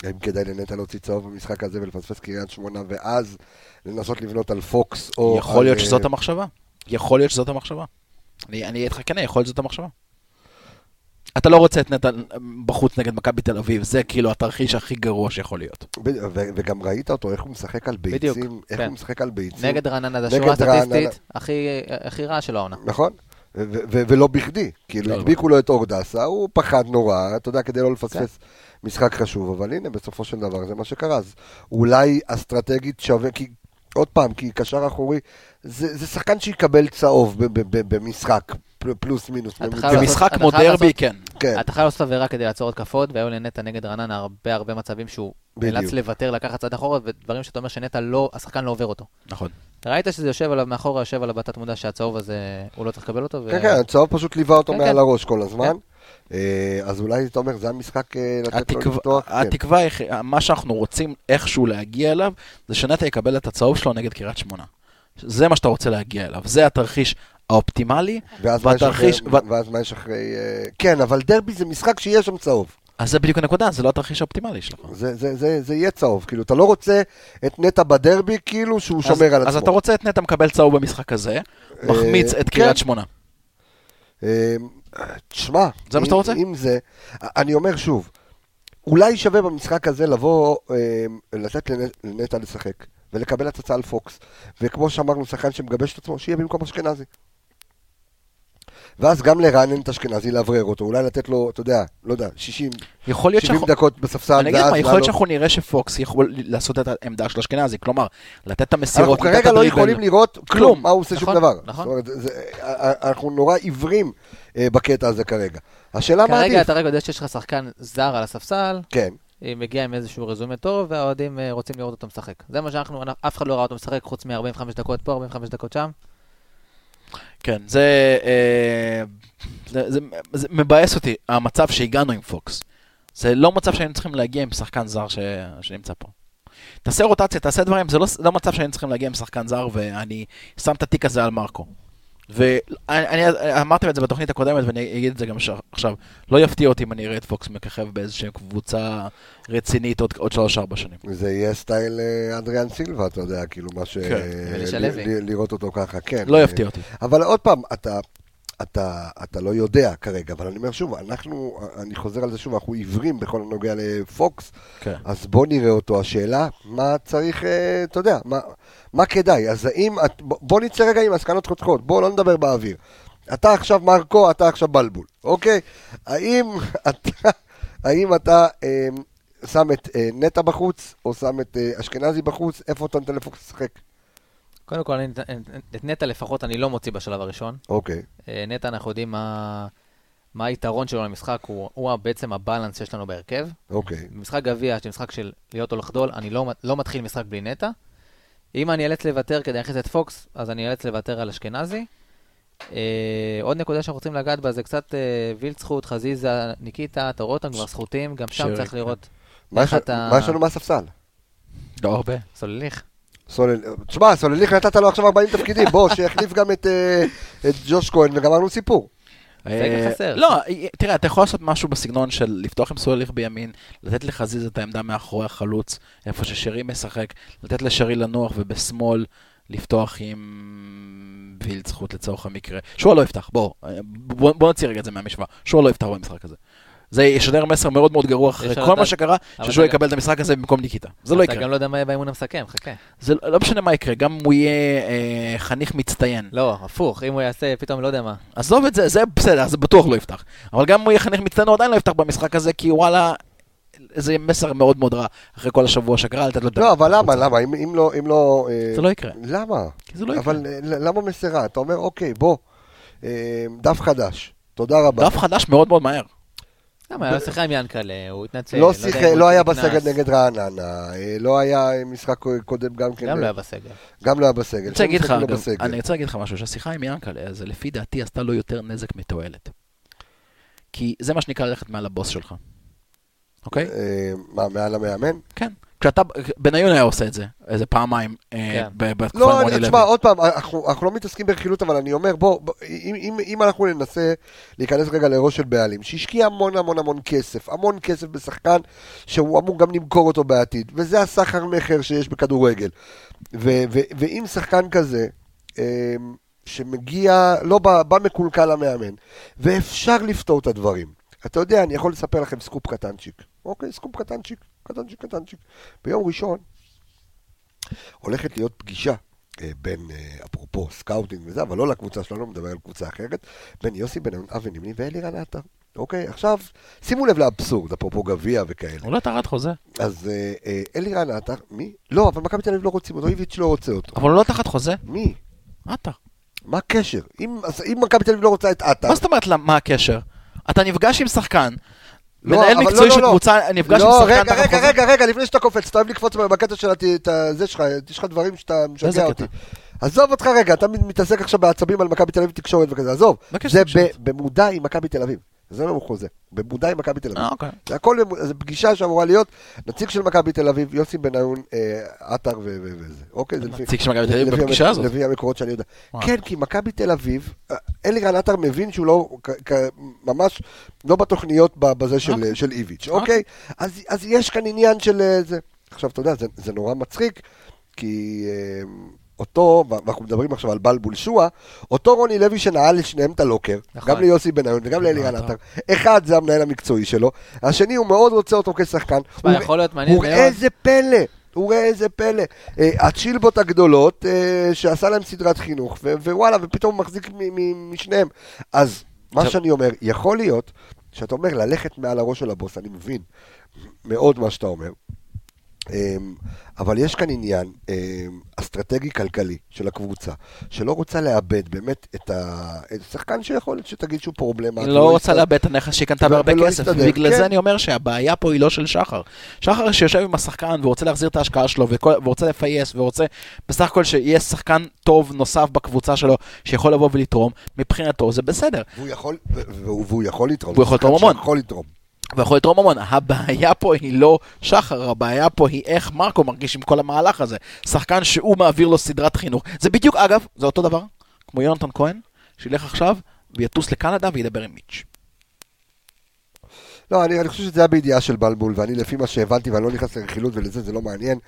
האם כדאי לנטע להוציא צהוב במשחק הזה ולפספס קריית שמונה, ואז לנסות לבנות על פוקס או... יכול על, להיות אה, שזאת המחשבה. יכול להיות שזאת המחשבה. אני אני אהיה איתך כן, יכול להיות שזאת המחשבה. אתה לא רוצה את נטע בחוץ נגד מכבי תל אביב, זה כאילו התרחיש הכי גרוע שיכול להיות. ו- ו- וגם ראית אותו, איך הוא משחק על בדיוק, ביצים, איך כן. הוא משחק על ביצים. נגד רעננה, נגד זו שורה רעננה. סטטיסטית הכי- אה, הכי רעה של העונה. נכון? ו- ו- ו- ולא בכדי, כאילו לא, לא. הדביקו לו את אורדסה, הוא פחד נורא, אתה יודע, כדי לא לפספס כן. משחק חשוב, אבל הנה, בסופו של דבר זה מה שקרה, אז אולי אסטרטגית שווה, כי עוד פעם, כי קשר אחורי, זה זה שחקן שיקבל צהוב ב- ב- ב- במשחק, פל- פלוס מינוס, אתה ממוצע. חייב לעשות- במשחק אתה כמו חייב דרבי, לעשות- כן. כן, אתה חייב לעשות עבירה כדי לעצור התקפות, והיו לנטע נגד רעננה הרבה הרבה מצבים שהוא בדיוק. נאלץ לוותר, לקחת צעד אחורה, ודברים שאתה אומר שנטע לא, השחקן לא עובר אותו. נכון. ראית שזה יושב עליו מאחורה, יושב עליו בתת מודע שהצהוב הזה, הוא לא צריך לקבל אותו? ו- כן, כן, הצהוב פשוט ליווה אותו כן, מעל כן. הראש כל הזמן, אה, אז אולי אתה אומר, זה המשחק אה, לתת לו התקווה- לפתוח, כן. התקווה, היח- מה שאנחנו רוצים איכשהו להגיע אליו, זה שנטע יקבל את הצהוב שלו נגד קריית שמונה. זה מה שאתה רוצה להגיע אליו, זה התרחיש האופטימלי, ואז מה יש אחרי- והתרחיש- ו- ואז מה יש אחרי, אה, כן, אבל דרבי זה משחק שיש שם צהוב. אז זה בדיוק הנקודה, זה לא התרחיש האופטימלי שלך. זה, זה, זה, זה יהיה צהוב, כאילו, אתה לא רוצה את נטע בדרבי, כאילו שהוא שומר אז, על עצמו. אז אתה רוצה את נטע מקבל צהוב במשחק הזה, מחמיץ את כן. קריית שמונה. אה, תשמע, זה מה שאתה אם- רוצה? אם זה, אני אומר שוב, אולי שווה במשחק הזה לבוא, אה, לתת לנ- לנטע לשחק, ולקבל הצצה על פוקס, וכמו שאמרנו, שחקן שמגבש את עצמו, שיהיה במקום אשכנזי. ואז גם לרענן את אשכנזי, לאוורר אותו, אולי לתת לו, אתה יודע, לא יודע, 60, יכול להיות 70 שאנחנו... דקות בספסל, אני אגיד לך ואז מה, יכול לעלות. להיות שאנחנו נראה שפוקס יכול לעשות את העמדה של אשכנזי, כלומר, לתת את אנחנו המסירות, לתת את כרגע לא הדריבל. יכולים לראות כלום, כלום. מה הוא עושה שום נכון, דבר. נכון. זאת אומרת, זה- זה- אה, אה, אנחנו נורא עיוורים אה, בקטע הזה כרגע. השאלה מה כרגע עדיף. אתה רק יודע שיש לך שחקן זר על הספסל, כן, אה, מגיע עם איזשהו רזומה טוב, והאוהדים אה, רוצים לראות אותו משחק. זה מה שאנחנו, אנ- אף אחד לא ראה אותו משחק חוץ מ-45 דקות פה, 45 דקות שם. כן, זה, אה, זה, זה, זה מבאס אותי, המצב שהגענו עם פוקס. זה לא מצב שהיינו צריכים להגיע עם שחקן זר ש, שנמצא פה. תעשה רוטציה, תעשה דברים, זה לא, לא מצב שהיינו צריכים להגיע עם שחקן זר, ואני שם את התיק הזה על מרקו. ואני אני- אמרתם את זה בתוכנית הקודמת, ואני אגיד את זה גם ש- עכשיו. לא יפתיע אותי אם אני אראה את פוקס מככב באיזושהי קבוצה רצינית עוד- עוד 3-4 שנים. זה יהיה סטייל אה, אדריאן סילבה, אתה יודע, כאילו מה ש... כן, ולשלוי. ל- ל- לראות אותו ככה, כן. לא יפתיע אותי. אבל עוד פעם, אתה, אתה, אתה לא יודע כרגע, אבל אני אומר שוב, אנחנו, אה, אני חוזר על זה שוב, אנחנו עיוורים בכל הנוגע לפוקס, כן. אז בוא נראה אותו. השאלה, מה צריך, אה, אתה יודע, מה, מה כדאי? אז האם, את, בוא- בוא נצא רגע עם מסקנות חותכות, בוא לא נדבר באוויר. אתה עכשיו מרקו, אתה עכשיו בלבול, אוקיי? האם <laughs> אתה, האם אתה אה, שם את אה, נטע בחוץ, או שם את אה, אשכנזי בחוץ? איפה אתה נותן לפוקס לשחק? קודם כל, אני- את נטע לפחות אני לא מוציא בשלב הראשון. אוקיי. אה, נטע, אנחנו יודעים מה, מה היתרון שלו למשחק, הוא, הוא בעצם הבלנס שיש לנו בהרכב. אוקיי, משחק גביע, שזה משחק של להיות או לחדול, אני לא, לא מתחיל משחק בלי נטע. אם אני אאלץ לוותר כדי להכניס את פוקס, אז אני אאלץ לוותר על אשכנזי. אה, עוד נקודה שאנחנו רוצים לגעת בה זה קצת אה, וילצחוט, חזיזה, ניקיטה, אתה רואה אותם כבר סחוטים, גם שם שרי, צריך כן. לראות מה יש- איך אתה- מה יש לנו מהספסל? לא הרבה. סולליך. סולל, תשמע, סולליך נתת לו עכשיו 40 תפקידים, בוא, שיחליף גם את, אה, את ג'וש כהן וגמרנו סיפור. סגל אה, חסר. לא, תראה, אתה יכול לעשות משהו בסגנון של לפתוח עם סולליך בימין, לתת לחזיז את העמדה מאחורי החלוץ, איפה ששרי משחק, לתת לשרי לנוח ובשמאל לפתוח עם וילד זכות לצורך המקרה. שועה לא יפתח, בואו, אה, בוא, בוא נוציא רגע את זה מהמשוואה. שועה לא יפתח במשחק הזה. זה ישדר מסר מאוד מאוד גרוע אחרי ישדר כל אתה- מה שקרה, אבל ששועה אתה- יקבל את המשחק הזה במקום ניקיטה. זה לא אתה יקרה. גם לא יודע מה יהיה באימון המסכם, חכה. זה לא- לא משנה מה יקרה, גם אם הוא יהיה אה, חניך מצטיין. לא, הפוך, אם הוא יעשה פתאום לא יודע מה. עזוב את זה, זה בסדר, זה בטוח לא יפתח. אבל גם אם הוא יהיה חניך מצטיין, הוא עדיין לא יפתח במשחק הזה, כי וואלה, זה מסר מאוד מאוד רע. אחרי כל השבוע שקרה, לתת לו את לא, ה- אבל למה, למה, אם, אם לא, אם לא... אה, זה לא יקרה. למה? כי זה לא יקרה. אבל אה, ל- למה מסירה? אתה אומר, אוקיי, בוא, אה, דף חדש, תודה רבה. דף חדש מאוד מאוד מהר. למה, היה לו שיחה עם ינקלה, הוא התנצל. אה, לא יודע אם שיחק, הוא לא היה נכנס. בסגל נגד רעננה, אה, לא היה משחק קודם גם כן, גם לא אה, היה בסגל. גם לא היה בסגל. אני רוצה להגיד לך, שום משחק אגב, לא בסגל. אני רוצה להגיד לך משהו, שהשיחה עם ינקלה, זה לפי דעתי עשתה לו יותר נזק מתועלת. כי זה מה שנקרא ללכת מעל הבוס שלך. אוקיי? אה, מה, מעל המאמן? כן. כשאתה, בניון היה עושה את זה, איזה פעמיים, אה, כן. ב- בתקופה עם לא, רוני אני- לוי. תשמע, עוד פעם, אנחנו אנחנו לא מתעסקים ברכילות, אבל אני אומר, בוא, בוא, אם- אם- אם אנחנו ננסה להיכנס רגע לראש של בעלים, שהשקיע המון המון המון כסף, המון כסף בשחקן, שהוא אמור גם למכור אותו בעתיד, וזה הסחר מכר שיש בכדורגל. ו- ו- ואם שחקן כזה, אמ, שמגיע, לא בא, בא מקולקל למאמן, ואפשר לפתור את הדברים. אתה יודע, אני יכול לספר לכם סקופ קטנצ'יק. אוקיי, סקופ קטנצ'יק, קטנצ'יק, קטנצ'יק. ביום ראשון הולכת להיות פגישה אה, בין, אה, אפרופו סקאוטינג וזה, אבל לא לקבוצה שלנו, מדבר על קבוצה אחרת, בין יוסי בן אבי נמני ואלירן עטר. אוקיי, עכשיו, שימו לב לאבסורד, אפרופו גביע וכאלה. הוא לא תחת חוזה. אז אה, אה, אלירן עטר, מי? לא, אבל מכבי תל אביב לא רוצים אותו, איביץ' לא רוצה אותו. אבל הוא לא תחת חוזה. מי? עטר. מה הקשר? אם, אז אם מכבי תל אביב לא רוצה את עטר... מה זאת אומרת, למה- מה הקשר? אתה נפגש עם שחקן, לא, מנהל אבל מקצועי לא, של לא, לא. קבוצה, נפגש עם לא, שחקן רגע, תחת רגע, חוזה. רגע, רגע, לפני שאתה קופץ, אתה אוהב לקפוץ בקטע של הת- את זה שלך, יש לך דברים שאתה איזה משגע קטע? אותי. עזוב אותך רגע, אתה מתעסק עכשיו בעצבים על מכבי תל אביב תקשורת וכזה, עזוב. בבקשה, זה תקשורת. ב- במודע עם מכבי תל אביב. זה לא חוזה, במודע עם מכבי תל אביב. אה, אוקיי. זה הכל, במו- זה פגישה שאמורה להיות נציג של מכבי תל אביב, יוסי בניון, אה, עטר ו- ו- וזה. אוקיי, זה לפי... נציג של מכבי תל אביב לפי המק- בפגישה הזאת. לפי המקורות שאני יודע. וואו. כן, כי מכבי תל אביב, אה, אלירן עטר מבין שהוא לא, כ- כ- ממש לא בתוכניות ב- בזה של, אוקיי. של איביץ', אוקיי? אז, אז יש כאן עניין של אה, זה. עכשיו, אתה יודע, זה, זה נורא מצחיק, כי אה, אותו, ואנחנו מדברים עכשיו על בלבול שואה, אותו רוני לוי שנעל לשניהם את הלוקר, נכון. גם ליוסי בניון וגם לאלירן עטר, אחד זה המנהל המקצועי שלו, השני הוא מאוד רוצה אותו כשחקן. תשמע, הוא- יכול להיות מעניין מאוד. וראה איזה פלא, וראה איזה פלא. אה, הצ'ילבות הגדולות, אה, שעשה להם סדרת חינוך, ו- ווואלה, ופתאום הוא מחזיק מ- מ- משניהם. אז מה עכשיו- שאני אומר, יכול להיות שאתה אומר ללכת מעל הראש של הבוס, אני מבין מאוד מה שאתה אומר. אמ, אבל יש כאן עניין אמ, אסטרטגי-כלכלי של הקבוצה, שלא רוצה לאבד באמת את ה- את השחקן שיכול להיות שתגיד שהוא פרובלמה. היא הוא לא רוצה יסתדר. לאבד את הנכס שהיא קנתה בהרבה ולא כסף. להסתדר, בגלל כן. זה אני אומר שהבעיה פה היא לא של שחר. שחר שיושב עם השחקן ורוצה להחזיר את ההשקעה שלו וכל- ורוצה לפייס ורוצה בסך הכל שיהיה שחקן טוב נוסף בקבוצה שלו שיכול לבוא ולתרום, מבחינתו זה בסדר. והוא יכול- ו- והוא והוא יכול לתרום. הוא יכול לתרום שחקן המון. שיכול לתרום. ויכול לתרום המון. הבעיה פה היא לא שחר, הבעיה פה היא איך מרקו מרגיש עם כל המהלך הזה. שחקן שהוא מעביר לו סדרת חינוך. זה בדיוק, אגב, זה אותו דבר, כמו יונתן כהן, שילך עכשיו ויטוס לקנדה וידבר עם מיץ'. לא, אני, אני חושב שזה היה בידיעה של בלבול, ואני לפי מה שהבנתי, ואני לא נכנס לרכילות ולזה, זה לא מעניין,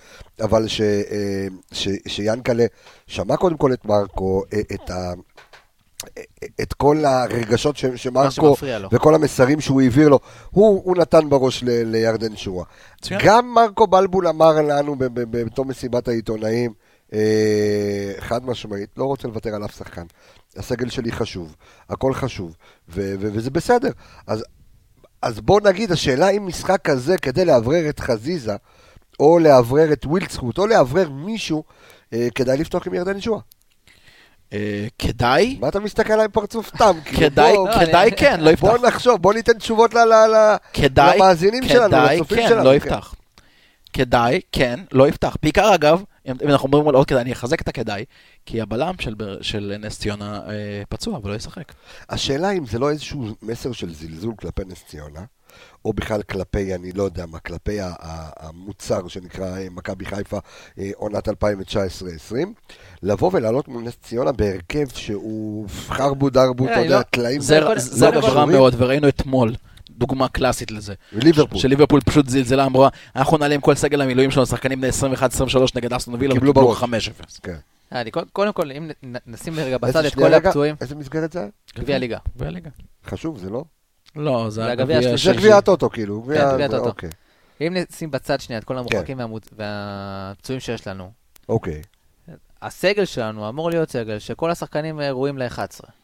אבל ש, אה, ש, שיאנקלה שמע קודם כל את מרקו, אה, את, ה, אה, את כל הרגשות ש, מה שמרקו, שמפריע לא. לו. וכל המסרים שהוא העביר לו, הוא, הוא נתן בראש ל, לירדן שואה. מצוין. גם מרקו בלבול אמר לנו ב- ב- ב- בתום מסיבת העיתונאים, אה, חד משמעית, לא רוצה לוותר על אף שחקן. הסגל שלי חשוב, הכל חשוב, ו- ו- וזה בסדר. אז, אז בוא נגיד, השאלה אם משחק כזה, כדי לאוורר את חזיזה, או לאוורר את ווילדסקוט, או לאוורר מישהו, אה, כדאי לפתוח עם ירדן שואה. אה, כדאי? מה אתה מסתכל עליי עם פרצוף <laughs> תם? כאילו, כדאי, בוא, לא, כדאי אני- כן, לא יפתח. בוא נחשוב, בוא ניתן תשובות ל... ל, ל כדאי, למאזינים שלנו, כדאי, לצופים כן, שלנו, לא כן. יפתח. כדאי, כן, לא יפתח. בעיקר אגב, אם אם אנחנו אומרים על עוד כדאי, אני אחזק את הכדאי, כי הבלם של, באר- של נס ציונה אה, פצוע ולא ישחק. השאלה אם זה לא איזשהו מסר של זלזול כלפי נס ציונה, או בכלל כלפי, אני לא יודע מה, כלפי ה- ה- המוצר שנקרא אה, מכבי חיפה אה, עונת 2019-2020, לבוא ולעלות מול נס ציונה בהרכב שהוא חרבו דרבו, אה, אתה יודע, לא, טלאים, זה קודם- זה קודם דבר כל- רע מאוד, וראינו אתמול דוגמה קלאסית לזה. ליברפול, שליברפול פשוט זלזלה, אמרה, אנחנו נעלה עם כל סגל המילואים שלנו, שחקנים בני 21-23 נגד אסטון וילה, קיבלו וקיבלו בראש. 5-0. כן. אה, אני קוד- קודם כל, אם נ- נ- נשים לרגע איזה בצד את שנייה כל רגע, הפצועים, איזה מסגרת זה? היה? גביע הליגה. גביע הליגה. חשוב, זה לא? לא, זה זה הגביע הגביע זה השלישי. השלישי. גביע הטוטו, כאילו. גביע- גביע הטוטו. אוקיי, אם נשים בצד שנייה את כל כן. המורחקים והמוצ- והפצועים שיש לנו, אוקיי. הסגל שלנו אמור להיות סגל שכל השחקנים אה, ראויים ל-11.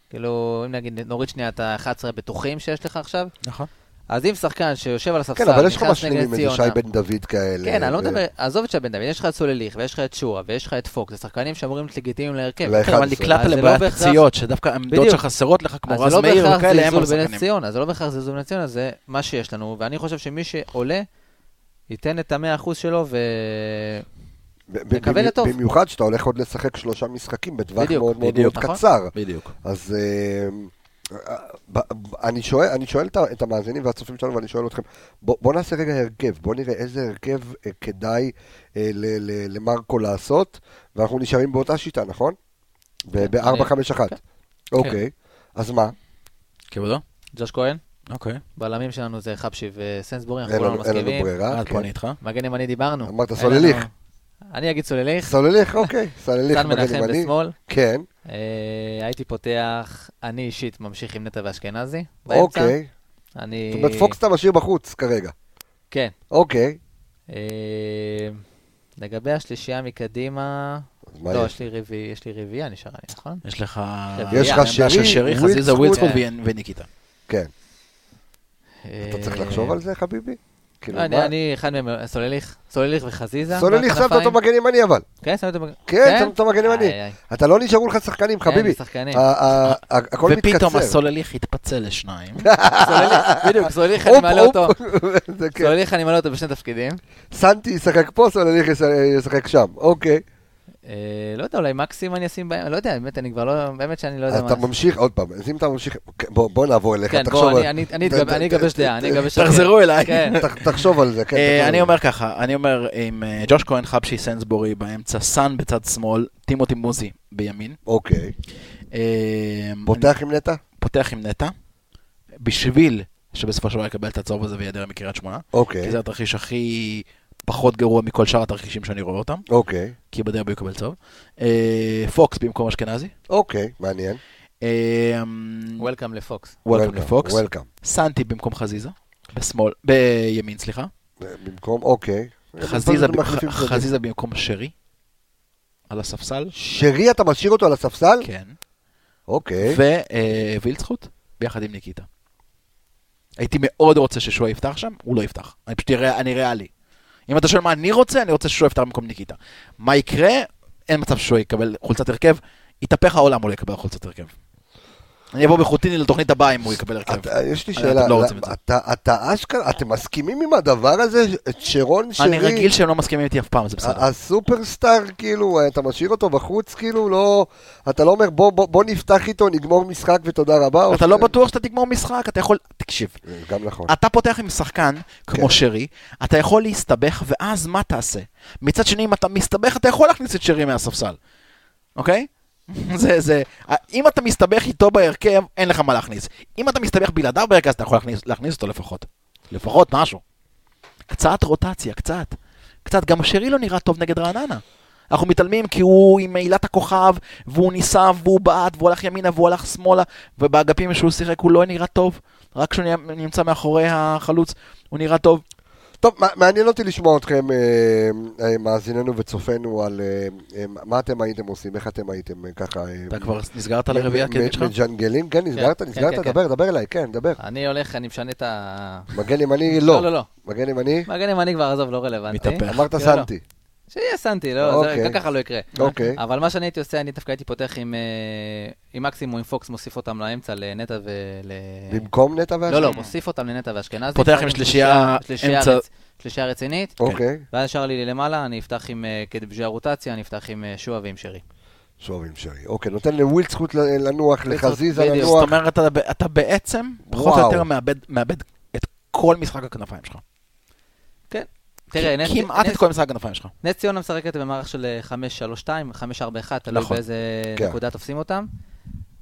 כאילו, אם נגיד נוריד שנייה את ה-11 הבטוחים שיש לך עכשיו, נכון. אז אם שחקן שיושב על הספסל, כן, אבל יש לך נכנס נגד משלימים איזה שי ציונה, בן דוד כאלה. אה, כן, אני לא ו- מדבר, עזוב את שי בן דוד, יש לך את סולליך, ויש לך את שואה, ויש לך את פוק, זה שחקנים שאמורים להיות לגיטימיים להרכב. ל- כן, אבל 11. נקלעת אז זה לא לבעיית בהכרח- פציעות, שדווקא העמדות בדיוק. שחסרות לך, כמו אז רז זה לא מאיר בהכרח וכאלה, הם זלזול השחקנים. בנס ציונה, זה לא בהכרח זלזול בנס ציונה, זה מה שיש לנו, ואני חושב שמי שעולה, ייתן את המאה אחוז שלו, ו... ב- ב- מקווה במי- לטוב. במיוחד שאתה הולך עוד לשחק שלושה משחקים בטווח בדיוק, מאוד מאוד מאוד בדיוק, נכון. קצר. בדיוק. אז אה, אה, ב- ב- אני שואל, אני שואל את ה- את המאזינים והצופים שלנו ואני שואל אתכם, בוא- בוא נעשה רגע הרכב, בוא נראה איזה הרכב אה, כדאי אה, ל- ל- למרקו לעשות, ואנחנו נשארים באותה שיטה, נכון? כן, אני- ב-4-5-1. כן. אוקיי, אז מה? כבודו? ג'וש כהן, אוקיי. בלמים שלנו זה חפשי וסנסבורי, אנחנו אין כולנו לנו אין לנו מסכימים. ברירה. עד כן. פה אני איתך. מגן ימני דיברנו. אמרת אין סולליך. לנו- אני אגיד סולליך, סלליך, <laughs> אוקיי, סלליך סן מגן מנחם ימני. בשמאל. כן, אה, הייתי פותח, אני אישית ממשיך עם נטע ואשכנזי. באמצע. אה, אוקיי. אני... זאת אומרת, פוקס אתה משאיר בחוץ כרגע. כן. אוקיי, אה, לגבי השלישייה מקדימה... אז מה לא, יש? יש לי רביעי- יש לי רביעייה נשארה לי, נכון? יש לך... יש אה, לך העמדה שרי, של שרי, ווילדסקוט. חזיזה, ווילדסקוט כן. ויאן- וניקיטה. כן. אה, אתה צריך לחשוב על זה, חביבי? כאילו, לא, מה? אה, אני- אני אחד מהם, סולליך, סולליך וחזיזה. סולליך שמת אותו בכנפיים. מגן ימני אבל. כן, שמת אותו... בג- כן, שמת אותו מגן ימני. איי, איי. אתה לא נשארו לך שחקנים, אין, חביבי. שחקנים. ה- ה- ה- הכל ופתאום מתקצר. הסולליך התפצל <laughs> לשניים. סולליך, בדיוק, סולליך אני הופ, מעלה אותו. הופ. זה <laughs> כן. סולליך אני מעלה אותו בשני תפקידים. סנטי ישחק פה, סולליך יש- ישחק שם. אוקיי. אה, לא יודע, אולי מקסים אני אשים בהם, לא יודע, באמת, אני כבר לא, באמת שאני לא יודע מה... אתה ממשיך, עוד פעם, אז אם אתה ממשיך, בוא בוא נעבור אליך, כן, תחשוב בוא, על- אני- אני- אני ת- אתגב- ת- אני אגבש דעה, אני אגבש... תחזרו אליי. כן. ת- תחשוב על זה, כן. אה, תחשוב אני על אומר ככה, אני אומר עם אה, ג'וש כהן, חבשי, סנסבורי באמצע, סאן בצד שמאל, טימותי מוזי בימין. זה. אוקיי. אה, פותח עם נטע? אני פותח עם נטע, בשביל שבסופו של דבר יקבל את הצהוב הזה ויעדר מקריית שמונה. אוקיי. כי זה התרחיש הכי פחות גרוע מכל שאר התרחישים שאני רואה אותם, אוקיי. כי בדרבי הוא יקבל צהוב. אה, פוקס במקום אשכנזי. אוקיי, מעניין. אה, Welcome לפוקס. וולקאם לפוקס. וולקאם. סנטי במקום חזיזה. בשמאל, בימין, סליחה. במקום, אוקיי. חזיזה הם ב- מחליפים צדדים. חזיזה במקום שרי. על הספסל. שרי, אתה משאיר אותו על הספסל? כן. אה, אוקיי. ווילדסחוט, ביחד עם ניקיטה. הייתי מאוד רוצה ששועה יפתח שם, הוא לא יפתח. אני פשוט אראה, אני ריאלי. אם אתה שואל מה אני רוצה, אני רוצה ששועה יפתח במקום ניקיטה. מה יקרה? אין מצב ששועה יקבל חולצת הרכב. יתהפך העולם, הוא לא יקבל חולצת הרכב. אני אבוא בחוטיני לתוכנית הבאה אם הוא יקבל הרכב. אתה- יש לי אתם שאלה, לא רוצים את למה- זה. אתה- אתה אשכרה, אתם מסכימים עם הדבר הזה? את שרון שרי, אה, אני רגיל שהם לא מסכימים איתי אף פעם, זה בסדר. ה- הסופרסטאר, כאילו, אתה משאיר אותו בחוץ, כאילו, לא, אתה לא אומר בוא- בוא בוא נפתח איתו, נגמור משחק ותודה רבה? או אתה ש- לא בטוח שאתה תגמור משחק, אתה יכול... תקשיב, גם נכון. אתה פותח עם שחקן, כמו שרי, אתה יכול להסתבך, ואז מה תעשה? מצד שני, אם אתה מסתבך, אתה יכול להכניס את שרי מהספסל, אוקיי? <laughs> זה, זה, אם אתה מסתבך איתו בהרכב, אין לך מה להכניס. אם אתה מסתבך בלעדיו בהרכב, אז אתה יכול להכניס, להכניס אותו לפחות. לפחות משהו. קצת רוטציה, קצת. קצת, גם שרי לא נראה טוב נגד רעננה. אנחנו מתעלמים כי הוא עם עילת הכוכב, והוא ניסה, והוא בעט, והוא הלך ימינה, והוא הלך שמאלה, ובאגפים שהוא שיחק הוא לא נראה טוב. רק כשהוא נמצא מאחורי החלוץ, הוא נראה טוב. טוב, מע- מעניין אותי לשמוע אתכם, אה, אה, מאזיננו וצופינו, על אה, אה, מה אתם הייתם עושים, איך אתם הייתם אה, ככה... אה, אתה כבר נסגרת מ- על הרביעייה מ- הקדמית שלך? מג'נגלים? כן, נסגרת, כן, נסגרת, כן, כן. דבר, דבר אליי, כן, דבר. אני הולך, אני משנה את ה... מגן ימני, לא. לא, לא, לא. מגן ימני? מגן ימני כבר, עזוב, לא רלוונטי. מתהפך. אמרת לא, לא. סנטי. שיהיה סנטי, לא, זה- אוקיי. גם ככה לא יקרה. אוקיי. אבל מה שאני הייתי עושה, אני דווקא הייתי פותח עם, אה, עם מקסימום, עם פוקס, מוסיף אותם לאמצע, לנטע ול... במקום נטע ואשכנזי? לא, לא, מוסיף אותם לנטע ואשכנזי. פותח עם שלישייה, שלישייה אמצע- רצ- שלישייה רצינית, אוקיי, ואז ישר לי למעלה, אני אפתח עם, אה, כדי בשביל הרוטציה, אני אפתח עם אה, שועה ועם שרי. כן. שוב עם שרי. אוקיי, נותן לווילד זכות ל- לנוח, זכות, לחזיזה בדיוק. זאת לנוח. אומרת, אתה, אתה בעצם, פחות או וואו. יותר, מאבד, מאבד את כל משחק הכנפיים שלך. כן. תראה, נס- כמעט נס- את כל משחק הכנפיים שלך. נס ציונה משחקת במערך של אה, 5-3-2, 5-4-1, תלוי נכון. באיזה כן. נקודה תופסים אותם.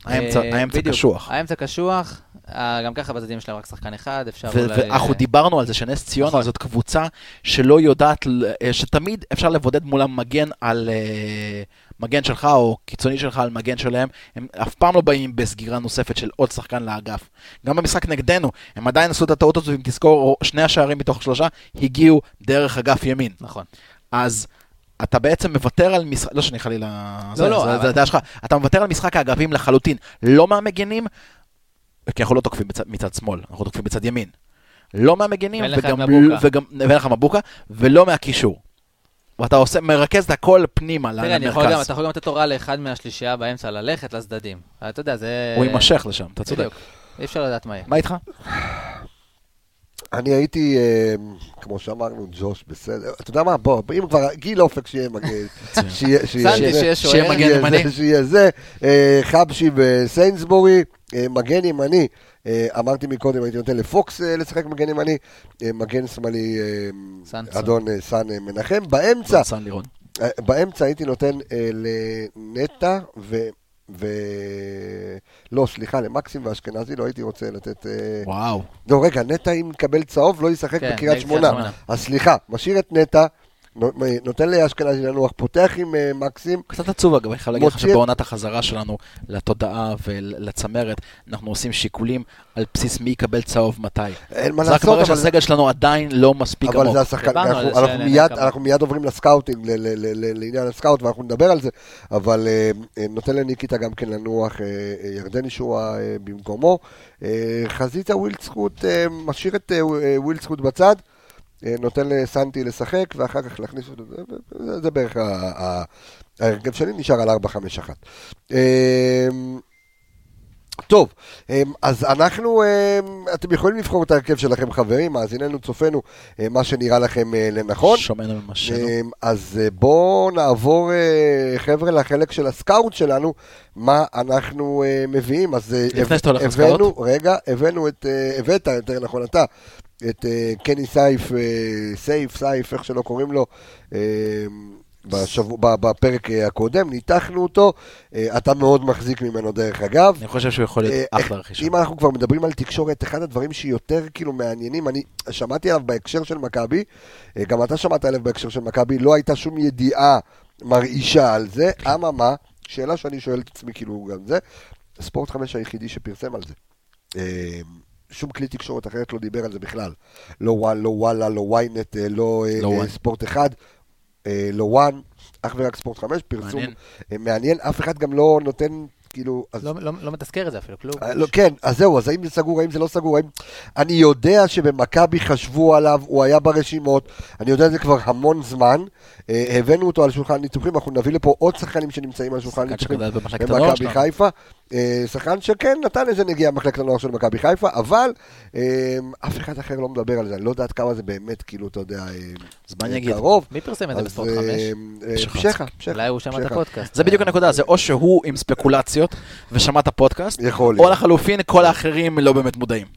האמצע- אה, האמצע בדיוק. קשוח. האמצע קשוח, אה, גם ככה בצדדים שלהם רק שחקן אחד, אפשר אה, ו- ואנחנו דיברנו על זה שנס ציונה זאת קבוצה שלא יודעת, ל- אה, שתמיד אפשר לבודד מולם מגן על אה, מגן שלך או קיצוני שלך על מגן שלהם, הם אף פעם לא באים בסגירה נוספת של עוד שחקן לאגף. גם במשחק נגדנו, הם עדיין עשו את הטעות הזו, אם תזכור, שני השערים מתוך שלושה הגיעו דרך אגף ימין. נכון. אז אתה בעצם מוותר על משחק, לא שאני חלילה, זה- לא, זה- אבל- זה הדעה שלך, אתה מוותר על משחק האגפים לחלוטין, לא מהמגנים, כי אנחנו לא תוקפים בצד, מצד שמאל, אנחנו תוקפים בצד ימין. לא מהמגנים, ואין לך וגם, את מבוקה. וגם, ואין לך מבוקה, ולא מהקישור. ואתה עושה, מרכז את הכל פנימה תראה, אני יכול גם, למרכז. אתה יכול גם לתת הוראה לאחד מהשלישייה באמצע ללכת לצדדים. אתה יודע, זה... הוא יימשך לשם, אתה צודק. בדיוק. אי אפשר לדעת מה יהיה. מה איתך? אני הייתי, אה, כמו שאמרנו, ג'וש, בסדר. אתה יודע מה, בוא, אם כבר, גיל אופק שיהיה מגן. שיהיה- שיהיה- סנטי שיהיה- שיהיה שיהיה שוער. מגן שיהיה ימני. זה, שיהיה זה, אה, חבשי בסיינסבורי, אה, מגן ימני, אה, אמרתי מקודם, הייתי נותן לפוקס אה, לשחק מגן ימני, אה, מגן שמאלי, אה, סנסון. אדון אה, סאן אה, מנחם, באמצע, סן לירון. אה, באמצע הייתי נותן אה, לנטע ו... ו... לא, סליחה, למקסים ואשכנזי לא הייתי רוצה לתת... אה, וואו. לא, רגע, נטע אם יקבל צהוב לא ישחק כן, בקריית נגד שמונה. שמונה. אז סליחה, משאיר את נטע, נו- נותן לאשכנזי לנוח, פותח עם אה, מקסים, קצת עצוב אגב, אני חייב להגיד לך מוציא- שבעונת החזרה שלנו לתודעה ולצמרת, אנחנו עושים שיקולים על בסיס מי יקבל צהוב מתי. אין מה זה רק לעשות, מראה אבל- שהסגל שלנו עדיין לא מספיק אבל עמוק. זה השחקן, דיברנו על אנחנו- זה אנחנו שנהנה מיד- כמה. אנחנו מיד עוברים לסקאוטינג, ל- ל- ל- ל- לעניין הסקאוט, ואנחנו נדבר על זה, אבל אה, אה, נותן לניקיטה גם כן לנוח, אה, אה, ירדן ישועה אה, במקומו. אה, חזית הווילדסקוט, אה, משאיר את אה, אה, ווילדסקוט בצד, אה, נותן לסנטי לשחק, ואחר כך להכניס אותו, זה- זה- זה בערך ה- ה- ההרכב שלי, נשאר על 4-5-1. אה, טוב, אמ, אז אנחנו, אמ, אתם יכולים לבחור את ההרכב שלכם, חברים, מאזיננו, צופינו, אמ, מה שנראה לכם אה, לנכון. שומענו ממשנו. אמ, אז אה, בואו נעבור, אה, חבר'ה, לחלק של הסקאוט שלנו, מה אנחנו אה, מביאים. אז אה, לפני הב- שאתה הולך הבאנו- לסקאוט? רגע, הבאנו את, אה, הבאת, יותר נכון, אתה, את אה, קני סייף, אה, סייף, סייף, איך שלא קוראים לו, אה, בשבוע- ב- בפרק אה, הקודם, ניתחנו אותו, אה, אתה מאוד מחזיק ממנו דרך אגב. אני חושב שהוא יכול להיות אה, אחלה רכישה. אם אנחנו כבר מדברים על תקשורת, אחד הדברים שיותר כאילו מעניינים, אני שמעתי עליו בהקשר של מכבי, אה, גם אתה שמעת עליו בהקשר של מכבי, לא הייתה שום ידיעה מרעישה על זה, כן. אממה, שאלה שאני שואל את עצמי כאילו גם זה, ספורט חמש היחידי שפרסם על זה. אה, שום כלי תקשורת אחרת לא דיבר על זה בכלל. לא וואן, לא וואלה, לא ynet, אה, לא אה, לא אה, וואן. ספורט אחד, אה, לא וואן, אך ורק ספורט חמש, פרסום מעניין. אה, מעניין, אף אחד גם לא נותן, כאילו, אז לא- לא לא מתזכר את זה אפילו, כלום. אה, לא, כן, אז זהו, אז האם זה סגור, האם זה לא סגור, האם... אני יודע שבמכבי חשבו עליו, הוא היה ברשימות, אני יודע את זה כבר המון זמן, אה, הבאנו אותו על שולחן ניתוחים, אנחנו נביא לפה עוד שחקנים שנמצאים על שולחן שחקן ניתוחים שגדל כן, במחלקת הנוער במכבי שלנו. חיפה, אה, שחקן שכן נתן איזה נגיעה במחלקת הנוער של מכבי חיפה, אבל אה, אף אחד אחר לא מדבר על זה, אני לא יודע עד כמה זה באמת, כאילו, אתה יודע, אה, אז מה אה, אני אגיד? קרוב. מי פרסם את זה אז, בספורט אה, 5? אה, שחצק. פשחה, פשחה. אולי הוא שמע את פשחה. הפודקאסט. זה בדיוק הנקודה, זה או שהוא עם ספקולציות ושמע את הפודקאסט, יכול או להיות. לחלופין כל האחרים לא באמת מודעים.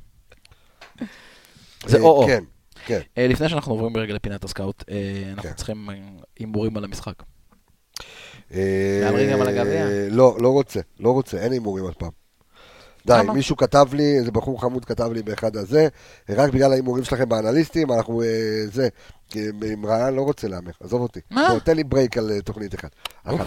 זה אה, או-או. כן, כן. אה, לפני שאנחנו עוברים רגע לפינת הסקאוט, אה, אנחנו כן. צריכים אה, הימורים על המשחק. אה, מהמרים גם על הגביע? לא, לא רוצה, לא רוצה, אין הימורים אף פעם. די, למה? מישהו כתב לי, איזה בחור חמוד כתב לי באחד הזה, רק בגלל ההימורים שלכם באנליסטים, אנחנו, אה, זה, אה, עם רעיון לא רוצה להמר, עזוב אותי. מה? בוא, תן לי ברייק על אה, תוכנית אחת. אחת.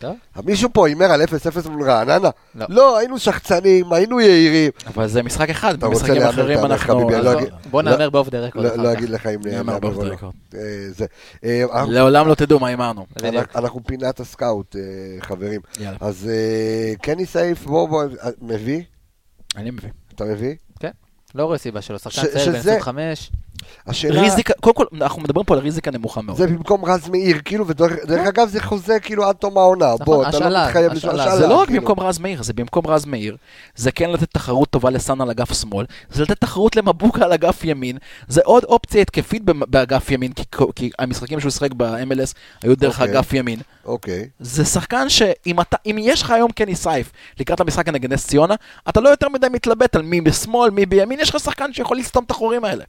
טוב. מישהו פה הימר על 0-0 מול רעננה? לא. לא, היינו שחצנים, היינו יהירים. אבל זה משחק אחד, אתה רוצה במשחקים להמר, אחרים תהמר, אנחנו... חביבי, אני לא עזוב, אגיד- בוא לא- נאמר באוף דה רקורד לא לא אחר כך. אגיד לך אם אני אומר נאמר או לא. באופטרקורד. אה, זה. אה, אנחנו- לעולם לא תדעו מה הימרנו. בדיוק. אנחנו- אנחנו פינת הסקאוט, אה, חברים. יאללה, אז אה, קני סייף, בוא, בוא, אה, מביא? אני מבין. אתה מביא? לא רואה סיבה שלא. שחקן ש- צעיר בן שזה- 25. השאלה, ריזיקה, קודם כל, אנחנו מדברים פה על ריזיקה נמוכה מאוד. לא. זה במקום רז מאיר, כאילו, ודרך דרך אגב זה חוזה כאילו עד תום העונה, נכון, בוא, אתה לא השאלה, מתחייב לשאול השאלה. השאלה. זה לא רק כאילו. במקום רז מאיר, זה במקום רז מאיר, זה כן לתת תחרות טובה לסאן על אגף שמאל, זה לתת תחרות למבוקה על אגף ימין, זה עוד אופציה התקפית במ- באגף ימין, כי כל- כי המשחקים שהוא שיחק ב-MLS היו דרך אוקיי. אגף ימין. אוקיי, זה שחקן שאם אתה, אם יש לך היום קני סייף לקראת המשחק נגד נס ציונה, אתה לא יותר מדי מתלבט על מי בשמאל, מי בימין, יש לך שחקן שיכול לסתום את החורים האלה.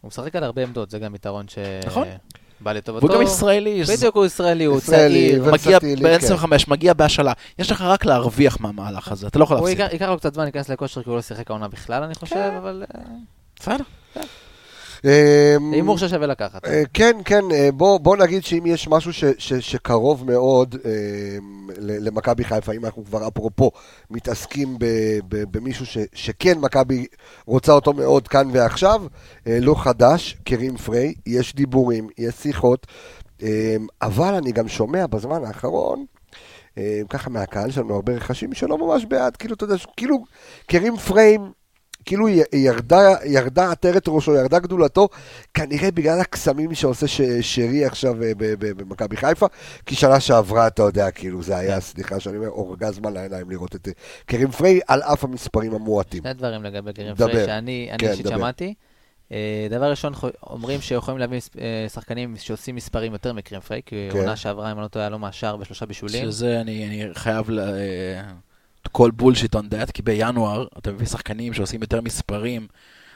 הוא משחק על הרבה עמדות, זה גם יתרון ש... נכון. בא לטובתו. והוא גם ישראלי, זה- בדיוק, הוא ישראלי, הוא ישראלי, צעיר. ו- מגיע ורסטילי, כן. ב-25, מגיע בהשאלה. יש לך רק להרוויח מהמהלך הזה, אתה לא יכול הוא להפסיד. ייקח- ייקח לו קצת זמן להיכנס לכושר, כי הוא לא שיחק העונה בכלל, אני חושב, כן. אבל אה, בסדר. אמ, זה הימור ששווה לקחת. אה, כן, כן, אה, בוא, בוא נגיד שאם יש משהו ש, ש, שקרוב מאוד אה, ל- למכבי חיפה, אם אנחנו כבר אפרופו מתעסקים ב, ב, במישהו ש, שכן מכבי רוצה אותו מאוד כאן ועכשיו, אה, לא חדש, קרים פריי, יש דיבורים, יש שיחות, אה, אבל אני גם שומע בזמן האחרון, אה, ככה מהקהל שלנו, הרבה רכשים שלא ממש בעד, כאילו, אתה יודע, ש- כאילו, קרים פריים, כאילו י- ירדה, ירדה עטרת ראשו, ירדה גדולתו, כנראה בגלל הקסמים שעושה ש- שרי עכשיו אה, ב- ב- במכבי חיפה, כי שנה שעברה, אתה יודע, כאילו, זה היה, סליחה שאני אומר, אורגזמה לעיניים לראות את אה, קרים פריי, על אף המספרים המועטים. שני דברים לגבי גרין דבר. פריי שאני אני כן, אישית דבר. שמעתי. אה, דבר ראשון, חו- אומרים שיכולים להביא מס- אה, שחקנים שעושים מספרים יותר מקרים פריי, כי כן. עונה שעברה, אם אני לא טועה, היה לו מהשער בשלושה בישולים. שזה אני, אני חייב ל... אה, כל בולשיט on that, כי בינואר אתה מביא שחקנים שעושים יותר מספרים.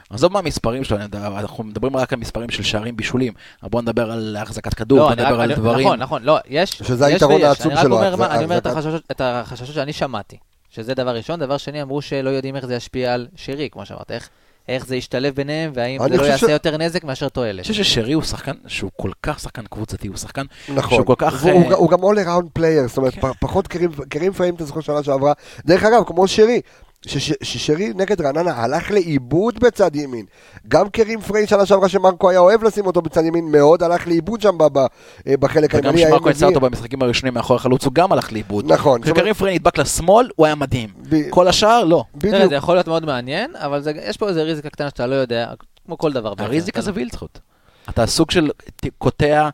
עזוב מה המספרים שלנו, אתה- אנחנו מדברים רק על מספרים של שערים בישולים. אבל בוא נדבר על החזקת כדור, בוא לא, אני רק- נדבר על אני- דברים. נכון, נכון, לא, יש, שזה יש היתרון ויש. העצום אני רק שלו, אומר מה- ההחזקה- אני אומר את ההחזקה. החששות- את החששות שאני שמעתי, שזה דבר ראשון. דבר שני, אמרו שלא יודעים איך זה ישפיע על שירי, כמו שאמרת, איך- איך זה ישתלב ביניהם, והאם אני זה לא חושב ש- יעשה יותר נזק מאשר תועלת. אני חושב ששרי הוא שחקן שהוא כל כך שחקן קבוצתי, הוא שחקן נכון. שהוא כל כך... הוא, אה, הוא, הוא גם all around player, זאת אומרת, כן. פ- פחות קרים, קרים פעים, אתה זוכר שנה שעברה. דרך אגב, כמו שרי. שש- ששרי נגד רעננה הלך לאיבוד בצד ימין. גם קרים פריי שנה שעברה שמרקו היה אוהב לשים אותו בצד ימין מאוד, הלך לאיבוד שם ב- ב- אה, בחלק וגם הימני. שמרקו הימני. יצא אותו במשחקים הראשונים מאחורי החלוץ, הוא גם הלך לאיבוד. נכון, זאת כשקרים אומרת, פריי נדבק לשמאל, הוא היה מדהים. ב- כל השאר, לא. תראה, בדיוק. זה יכול להיות מאוד מעניין, אבל זה- יש פה איזה ריזיקה קטנה שאתה לא יודע, כמו כל דבר. בעצם. הריזיקה אתה זה וילדסחוט. אוקיי, אתה סוג של ת- קוטע,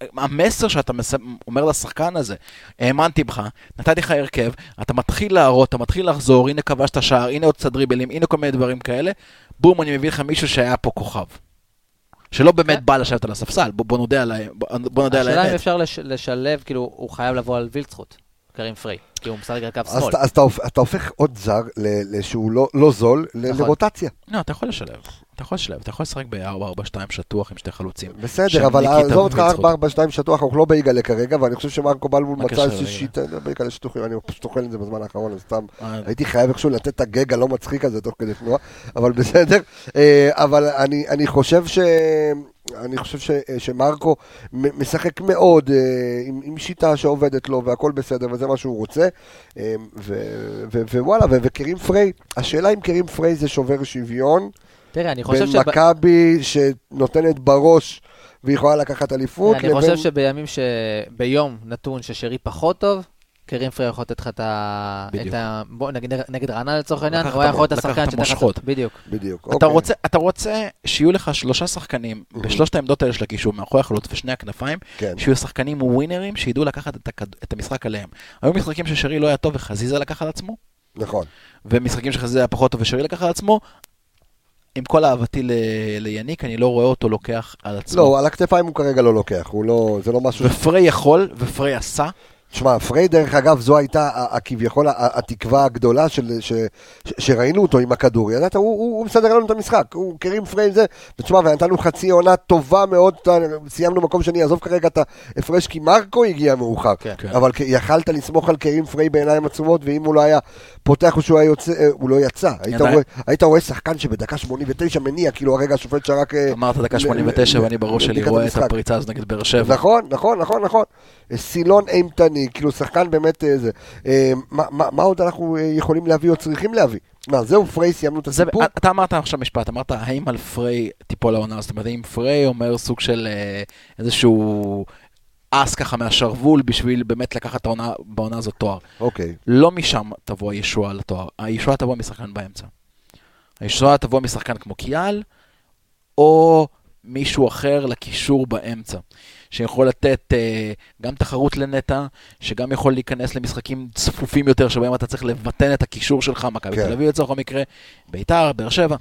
המסר שאתה מס... אומר לשחקן הזה, האמנתי בך, נתתי לך הרכב, אתה מתחיל להראות, אתה מתחיל לחזור, הנה כבשת שער, הנה עוד קצת דריבלים, הנה כל מיני דברים כאלה, בום, אני מביא לך מישהו שהיה פה כוכב. שלא באמת כן. בא בא לשבת על הספסל, בוא, בוא נודה על, ה- בוא, בוא נודה על השאלה אם האמת. אפשר לש- לשלב, כאילו, הוא חייב לבוא על וילצחוט, קרים פריי, כי הוא משחק על קו אז, שמאל. אתה- אז אתה, הופ- אתה הופך עוד זר ל- שהוא לא, לא זול ל- נכון. לרוטציה. לא, אתה יכול לשלב, אתה יכול לשלב, אתה יכול לשחק ב-4-4-2 שטוח עם שתי חלוצים. של בסדר, אבל ניקיטה עזוב אותך ווילצחוט. 4, 4, 2 שטוח, אנחנו לא ביגאלה כרגע, ואני חושב שמרקו בלבול מצא מה הקשר איזושהי לביגאלה? שיטה, לא, ביגאלה שטוחים, אני פשוט אוכל את זה בזמן האחרון, אז סתם אה, הייתי חייב איכשהו לתת את הגג הלא מצחיק הזה תוך כדי תנועה, אבל בסדר. אה, אבל אני, אני חושב ש... אני חושב ש, אה, שמרקו מ- משחק מאוד אה, עם, עם שיטה שעובדת לו והכל בסדר וזה מה שהוא רוצה אה, ו- ו- ווואלה ו- וקרים פריי, השאלה אם קרים פריי זה שובר שוויון תראה, אני חושב בין שב- מכבי שנותנת בראש ויכולה לקחת אליפות אני חושב לבין שבימים ש... ביום נתון ששרי פחות טוב, קרים פריי יכול לתת לך את ה... בדיוק. את ה... בוא נגיד נגד רעננה לצורך העניין, לקחת הוא היה יכול להיות לקחת השחקן את שתחת... המושכות. בדיוק. בדיוק. אתה אוקיי. רוצה, אתה רוצה שיהיו לך שלושה שחקנים בשלושת העמדות האלה של הקישור, מאחורי החלוץ ושני הכנפיים, כן. שיהיו שחקנים ווינרים שידעו לקחת את, הכד... את המשחק עליהם. היו משחקים ששרי לא היה טוב וחזיזה לקח על עצמו, נכון. ומשחקים שחזיזה היה פחות טוב ושרי לקח על עצמו. עם כל אהבתי ל... ליניק, אני לא רואה אותו לוקח על עצמו. <laughs> לא, על הכתפיים הוא כרגע לא לוקח, הוא לא, זה לא משהו ופריי יכול, ופריי עשה, תשמע, פריי, דרך אגב, זו הייתה ה- ה- כביכול ה- ה- התקווה הגדולה של, ש, ש, שראינו אותו עם הכדור. ידעת, הוא, הוא, הוא מסדר לנו את המשחק, הוא קרים פריי זה, ותשמע, ונתנו חצי עונה טובה מאוד, אתה- סיימנו מקום שני, עזוב כרגע את ההפרש, כי מרקו הגיע מאוחר. כן. כן. אבל כ- יכלת לסמוך על קרים פריי בעיניים עצומות, ואם הוא לא היה פותח או שהוא היה יוצא, אה, הוא לא יצא. היית אבל- רואה- היית רואה שחקן שבדקה 89 מניע, כאילו הרגע השופט שרק... אה, אמרת דקה ל- 89 ל- ואני בראש שלי לבדיקת רואה את המשחק. הפריצה הזו נגד באר שבע. נכון, נכון, נכון, נכון. סילון אימתני, כאילו שחקן באמת איזה. אה, מה- מה מה עוד אנחנו אה, יכולים להביא או צריכים להביא? מה, זהו, פריי, סיימנו את זה, הסיפור? אתה אמרת עכשיו משפט, אמרת האם על פריי תיפול העונה, זאת אומרת האם פריי אומר סוג של אה, איזשהו אס ככה מהשרוול בשביל באמת לקחת את העונה- בעונה הזאת תואר. אוקיי. לא משם תבוא הישועה לתואר, הישועה תבוא משחקן באמצע. הישועה תבוא משחקן כמו קיאל, או מישהו אחר לקישור באמצע, שיכול לתת אה, גם תחרות לנטע, שגם יכול להיכנס למשחקים צפופים יותר, שבהם אתה צריך לבטן את הקישור שלך, מכבי כן. תל אביב לצורך המקרה, ביתר, באר שבע.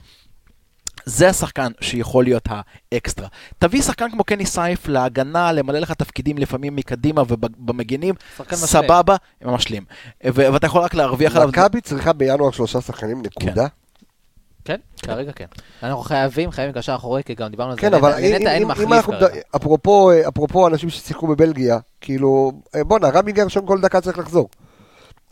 זה השחקן שיכול להיות האקסטרה. תביא שחקן כמו קני סייף להגנה, למלא לך תפקידים לפעמים מקדימה ובמגינים, שחקן משלה. סבבה, הם משלים. ו- ואתה יכול רק להרוויח עליו... מכבי צריכה בינואר שלושה שחקנים, נקודה. כן, כרגע כן. אנחנו חייבים, חייבים קשר אחורי, כי גם דיברנו על זה. כן, אבל לנטע- לנטע אם- אין אם- אם מחליף אנחנו... כרגע. אפרופו, אה, אפרופו אנשים ששיחקו בבלגיה, כאילו, אה, בואנה, רמי גרשון כל דקה צריך לחזור.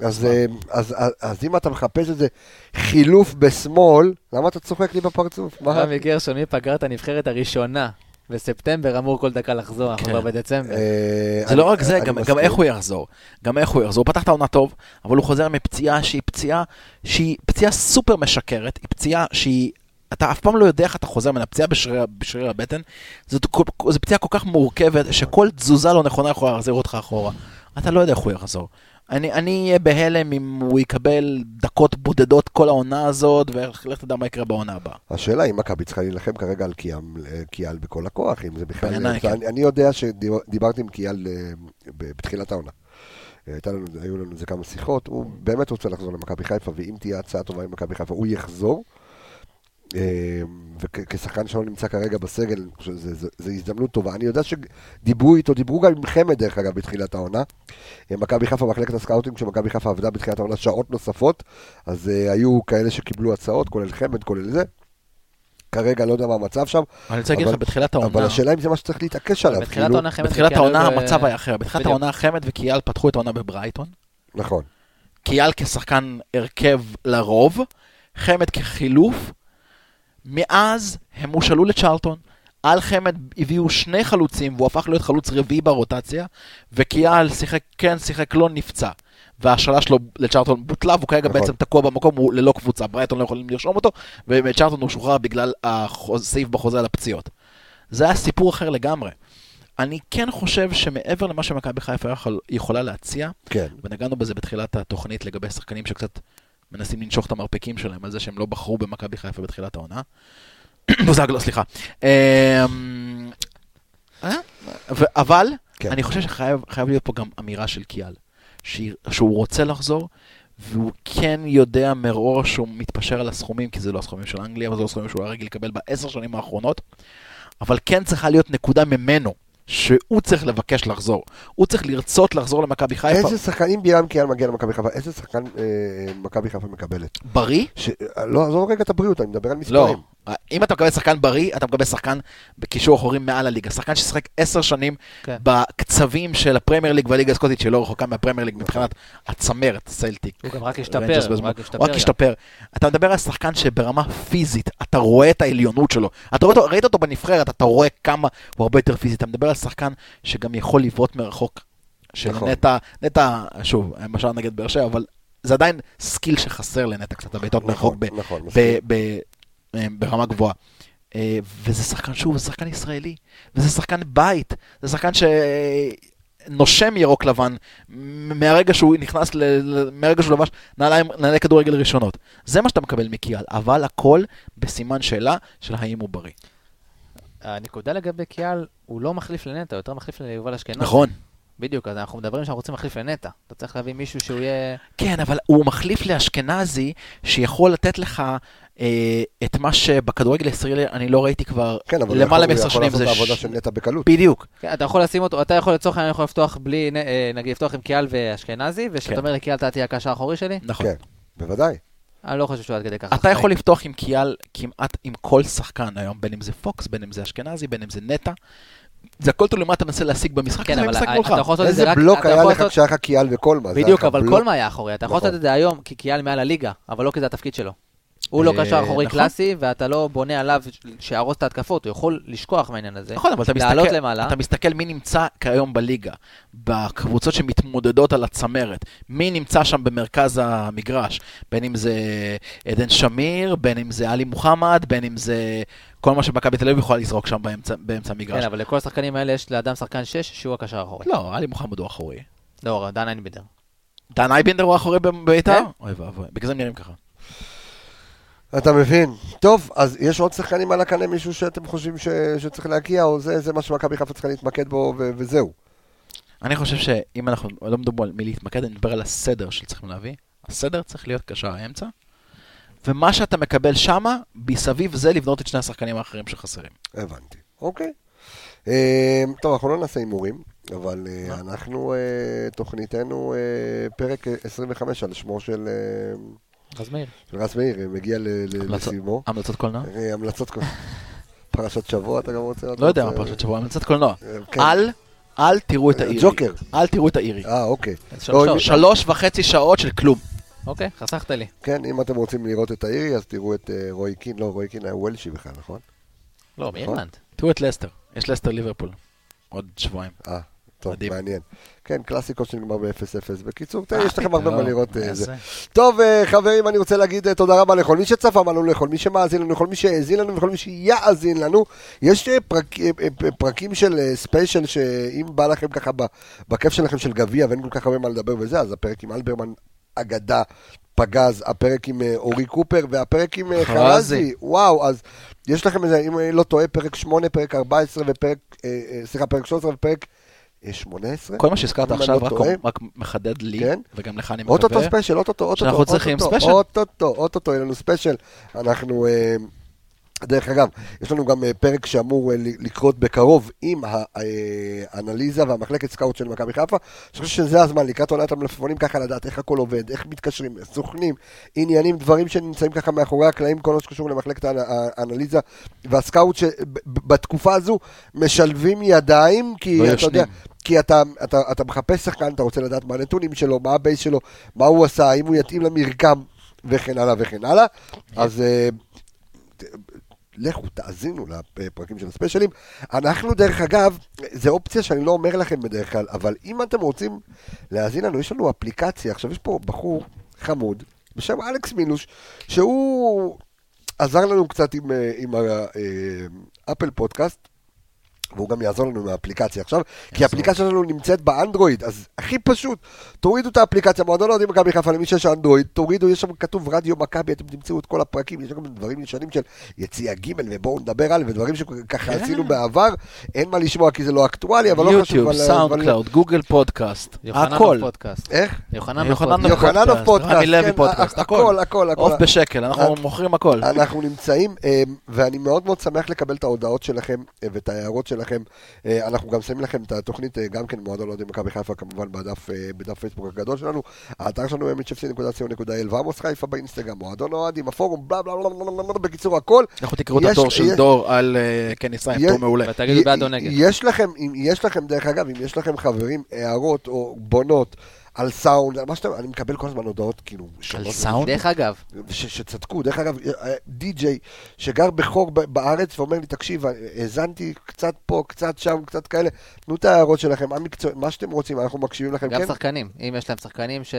אז, אה, אז, אז, אז אם אתה מחפש איזה חילוף בשמאל, למה אתה צוחק לי בפרצוף? מה? רמי גרשון, מי פגר את הנבחרת הראשונה בספטמבר, אמור כל דקה לחזור, אנחנו כן. כבר בדצמבר. אה, זה לא אני- רק זה, אני גם, מסכים. גם איך הוא יחזור. גם איך הוא יחזור. הוא פתח את העונה טוב, אבל הוא חוזר מפציעה שהיא פציעה שהיא פציעה סופר משקרת, היא פציעה שהיא... אתה אף פעם לא יודע איך אתה חוזר ממנה, פציעה בשריר, בשריר הבטן, זאת כל- זו פציעה כל כך מורכבת, שכל תזוזה לא נכונה יכולה להחזיר אותך אחורה. אתה לא יודע איך הוא יחזור. אני, אני אהיה בהלם אם הוא יקבל דקות בודדות כל העונה הזאת, ולך תדע מה יקרה בעונה הבאה. השאלה אם מכבי צריכה להילחם כרגע על קיאם- אה, קיאל בכל הכוח, אם זה בכלל... בעיניי, כן. אני, אני יודע שדיברתי עם קיאל אה, ב- בתחילת העונה. אה, הייתה לנו, היו לנו איזה כמה שיחות, הוא באמת רוצה לחזור למכבי חיפה, ואם תהיה הצעה טובה עם מכבי חיפה, הוא יחזור. אה, וכשחקן שלא נמצא כרגע בסגל, אני חושב שזה- זה- זו הזדמנות טובה. אני יודע שדיברו איתו, דיברו גם עם חמד דרך אגב בתחילת העונה. אה, מכבי חיפה, מחלקת הסקאוטינג של מכבי חיפה עבדה בתחילת העונה שעות נוספות, אז אה, היו כאלה שקיבלו הצעות, כולל חמד, כולל זה. כרגע לא יודע מה המצב שם, אני רוצה להגיד לך, אבל- בתחילת העונה... אבל השאלה אם זה מה שצריך להתעקש עליו. בתחילת כאילו- העונה חמד בתחילת וקיאל העונה היו ב- המצב היה אחר. בתחילת בדיוק. העונה חמד וקיאל פתחו את העונה בברייטון. נכון. קיאל כשחקן הרכב לרוב, חמד כחילוף. מאז הם הושאלו לצ'רלטון. על חמד הביאו שני חלוצים והוא הפך להיות חלוץ רביעי ברוטציה, וקיאל שיחק כן, שיחק לא, נפצע. וההשאלה שלו לצ'רלטון בוטלה, והוא כרגע נכון. בעצם תקוע במקום, הוא ללא קבוצה, ברייטון לא יכולים לרשום אותו, ומצ'רלטון הוא שוחרר בגלל החוז- הסעיף בחוזה על הפציעות. זה היה סיפור אחר לגמרי. אני כן חושב שמעבר למה שמכבי חיפה יכול- יכולה להציע, כן. ונגענו בזה בתחילת התוכנית לגבי שחקנים שקצת מנסים לנשוך את המרפקים שלהם על זה שהם לא בחרו במכבי חיפה בתחילת העונה. <clears throat> בוזגלו, סליחה. אמ, אה? ו- אבל כן. אני חושב שחייב חייב להיות פה גם אמירה של קיאל, שהיא- שהוא רוצה לחזור. והוא כן יודע מראש שהוא מתפשר על הסכומים, כי זה לא הסכומים של אנגליה, אבל זה לא הסכומים שהוא היה רגיל לקבל בעשר שנים האחרונות, אבל כן צריכה להיות נקודה ממנו, שהוא צריך לבקש לחזור. הוא צריך לרצות לחזור למכבי חיפה. איזה שחקן, אם בירם קיאל מגיע למכבי חיפה, איזה שחקן אה, מכבי חיפה מקבלת? בריא? ש- לא, עזוב רגע את הבריאות, אני מדבר על לא. מספרים. אם אתה מקבל שחקן בריא, אתה מקבל שחקן בקישור אחורי מעל הליגה. שחקן ששיחק עשר שנים כן. בקצבים של הפרמייר ליג והליגה הסקוטית, שלא רחוקה מהפרמייר ליג מבחינת הצמרת, סלטיק. נכון. הוא גם רק השתפר, רנג'רס הוא אה, בזמן. רק השתפר. הוא רק השתפר. אתה מדבר על שחקן שברמה פיזית, אתה רואה את העליונות שלו. אתה רואה אותו, ראית אותו בנבחרת, אתה רואה כמה הוא הרבה יותר פיזי. אתה מדבר על שחקן שגם יכול לבעוט מרחוק. נכון. שנטע, נטע, שוב, למשל נגד באר שבע, אבל זה עדיין סקיל שחסר לנטע קצת, הבעיטות מרחוק לא, ב- נכון, מסכים. ב- ב- אה, ברמה גבוהה. אה, וזה שחקן, שוב, זה שחקן ישראלי, וזה שחקן בית, זה שחקן שנושם ירוק לבן מ- מהרגע שהוא נכנס, ל... ל- מהרגע שהוא לבש נעליים, נעלי כדורגל ראשונות. זה מה שאתה מקבל מקיאל, אבל הכל בסימן שאלה של האם הוא בריא. הנקודה לגבי קיאל, הוא לא מחליף לנטע, הוא יותר מחליף ליובל אשכנזי. נכון, בדיוק, אז אנחנו מדברים שאנחנו רוצים להחליף לנטע. אתה צריך להביא מישהו שהוא יהיה... כן, אבל הוא מחליף לאשכנזי שיכול לתת לך אה, את מה שבכדורגל הישראלי אני לא ראיתי כבר כן, אבל למעלה הוא יכול- מעשר הוא יכול שנים. לעשות את זה העבודה ש- של נטע בקלות. בדיוק. כן, אתה יכול לשים אותו, אתה יכול לצורך העניין יכול לפתוח בלי, נ- אה, נגיד לפתוח עם קיאל ואשכנזי, כן. ושאתה אומר לקיאל אתה תהיה הקשר האחורי שלי, נכון. כן, בוודאי. אני לא חושב שהוא עד כדי ככה. אתה יכול לפתוח עם קיאל כמעט עם כל שחקן היום, בין אם זה פוקס, בין אם זה אשכנזי, בין אם זה נטע. זה הכל תלוי מה אתה מנסה להשיג במשחק, כן, זה אבל משחק ה- מולך. אתה יכול לעשות את איזה זה רק... בלוק אתה היה יכול לך לעשות- כשהיה לך קיאל וקולמה? זה בדיוק, היה לך אבל בלוק. קולמה היה אחורי, אתה יכול נכון. לעשות את זה היום, כי קיאל מעל הליגה, אבל לא כי זה התפקיד שלו. הוא לא אה, קשר אחורי נכון. קלאסי, ואתה לא בונה עליו ש- שיהרוס את ההתקפות, הוא יכול לשכוח מהעניין הזה. נכון, אבל אתה לעלות מסתכל, למעלה. אתה מסתכל מי נמצא כיום בליגה, בקבוצות שמתמודדות על הצמרת, מי נמצא שם במרכז המגרש, בין אם זה עדן שמיר, בין אם זה עלי מוחמד, בין אם זה כל מה שמכבי תל אביב יכולה לזרוק שם באמצע, באמצע המגרש. כן, אבל לכל השחקנים האלה יש לאדם שחקן 6 שהוא הקשר האחורי. לא, עלי מוחמד הוא אחורי. לא, דן איינבידר. דן אייבנדר הוא אחורי בביתר? כן. אוי ואבוי, בגלל זה הם נראים ככה. אתה מבין? טוב, אז יש עוד שחקנים על הקנה, מישהו שאתם חושבים ש... שצריך להגיע, או זה, זה מה שמכבי חיפה צריכה להתמקד בו, ו... וזהו. אני חושב שאם אנחנו לא מדברים על מי להתמקד, אני מדבר על הסדר שצריכים להביא. הסדר צריך להיות קשר האמצע, ומה שאתה מקבל שמה, מסביב זה לבנות את שני השחקנים האחרים שחסרים. הבנתי. אוקיי. אה, טוב, אנחנו לא נעשה הימורים, אבל אה, אנחנו, אה, תוכניתנו, אה, פרק 25 על שמו של אה, אז מאיר. של רז מאיר, אה, מגיע ל- ל- המלצות- לסיומו. המלצות קולנוע? אה, המלצות כל- פרשת שבוע, אתה גם רוצה? אה? לא יודע מה רוצה- פרשת שבוע, המלצת קולנוע. אה, כן. אל, אל תראו את האירי. ג'וקר. אל תראו את האירי. אה, אוקיי. אז לא, שלוש שעות. שלוש וחצי שעות של כלום. אוקיי, חסכת לי. כן, אם אתם רוצים לראות את האירי, אז תראו את אה, רוי קין, לא, רוי קין היה וולשי בכלל, נכון? לא, מאירלנד. תראו את לסטר. יש לסטר ליברפול. עוד שבועיים. אה, טוב, מדהים. מעניין. כן, קלאסיקו שנגמר ב-0-0. בקיצור, תראה, אה, יש לכם הרבה לא, מה לראות אה, איזה. זה. טוב, אה, חברים, אני רוצה להגיד אה, תודה רבה לכל מי שצפה בנו, לכל מי שמאזין לנו, לכל מי שהאזין לנו ולכל מי שיאזין לנו. יש אה, פרק- אה, אה, פרקים של אה, ספיישל, שאם בא לכם ככה ב- בכיף שלכם של גביע ואין כל כך הרבה מה לדבר וזה, אז הפרק עם אלברמן, אגדה. פגז, הפרק עם אה, אורי קופר והפרק עם אה, חרזי. חרזי, וואו, אז יש לכם איזה, אם אני לא טועה, פרק 8, פרק 14 ופרק, אה, אה, סליחה, פרק 13 ופרק אה, 18? כל מה שהזכרת אם אני עכשיו לא רק- טועה. רק מחדד לי, כן. וגם לך אני מקווה. אוטוטו ספיישל, אוטוטו, אוטוטו, שאנחנו צריכים אוטוטו, ספיישל. אוטוטו, אוטוטו, יהיה לנו ספיישל. אנחנו, אה, דרך אגב, יש לנו גם אה, פרק שאמור אה, ל- לקרות בקרוב עם האנליזה והמחלקת סקאוט של מכבי חיפה. אני חושב שזה הזמן, לקראת עונת המלפפונים, ככה לדעת איך הכל עובד, איך מתקשרים, סוכנים, עניינים, דברים שנמצאים ככה מאחורי הקלעים, כל מה שקשור למחלקת האנ- האנליזה והסקאוט, שבתקופה הזו משלבים ידיים, לא כי אתה ישנים. יודע, כי אתה, אתה, אתה מחפש שחקן, אתה רוצה לדעת מה הנתונים שלו, מה הבייס שלו, מה הוא עשה, האם הוא יתאים למרקם, וכן הלאה וכן הלאה. אז אה, ת- לכו, תאזינו לפרקים של הספיישלים. אנחנו, דרך אגב, זו אופציה שאני לא אומר לכם בדרך כלל, אבל אם אתם רוצים להאזין לנו, יש לנו אפליקציה. עכשיו, יש פה בחור חמוד בשם אלכס מילוש, שהוא עזר לנו קצת עם, אה, עם האפל פודקאסט. והוא גם יעזור לנו עם האפליקציה עכשיו, כי האפליקציה שלנו נמצאת באנדרואיד, אז הכי פשוט, תורידו את האפליקציה, מועדון אוהדים מכבי חיפה למי שיש אנדרואיד, תורידו, יש שם כתוב רדיו מכבי, אתם תמצאו את כל הפרקים, יש גם דברים ישנים של יציאה ג' ובואו נדבר על, ודברים שככה אה. עשינו בעבר, אין מה לשמוע כי זה לא אקטואלי, אבל לא חשוב. יוטיוב, אבל- סאונד אבל- קלאוד, גוגל פודקאסט, הכל. יוחנן פודקאסט. איך? יוחנן יוחנן פודקאסט. פודקאסט, יוחננוב פודקאסט, רמי לוי כן, פודקאסט, ה- הכל. הכל, הכל, הכל. עוף בשקל, אנחנו אה, מוכרים הכל. אנחנו נמצאים, אה, ואני מאוד מאוד שמח לקבל את ההודעות שלכם אה, ואת ההערות שלכם. אה, אנחנו גם שמים לכם את התוכנית, אה, גם כן מועדון אוהדים מכבי חיפה, כמובן בדף, אה, בדף פייסבוק הגדול שלנו. האתר שלנו הוא mhfc.co.il ועמוס חיפה באינסטגרם, מועדון אוהדים, הפורום, בלה בלה בלה בלה בלה, בקיצור הכל. אנחנו תקראו את יש- התור של יש- דור על אה, קני סיים, יש- תור מעולה. ותגידו י- בעד או נגד. יש לכם, אם יש לכם, דרך אגב, אם יש לכם חברים, הערות או בונות על סאונד, על מה שאתם, אני מקבל כל הזמן הודעות, כאילו, על שונות סאונד? דרך אגב, ש, שצדקו, דרך אגב, אה, די-ג'יי שגר בחור ב- בארץ ואומר לי, תקשיב, אה, האזנתי קצת פה, קצת שם, קצת כאלה, תנו את ההערות שלכם, המקצוע, מה שאתם רוצים, אנחנו מקשיבים לכם, גם כן, שחקנים. אם יש להם שחקנים ש...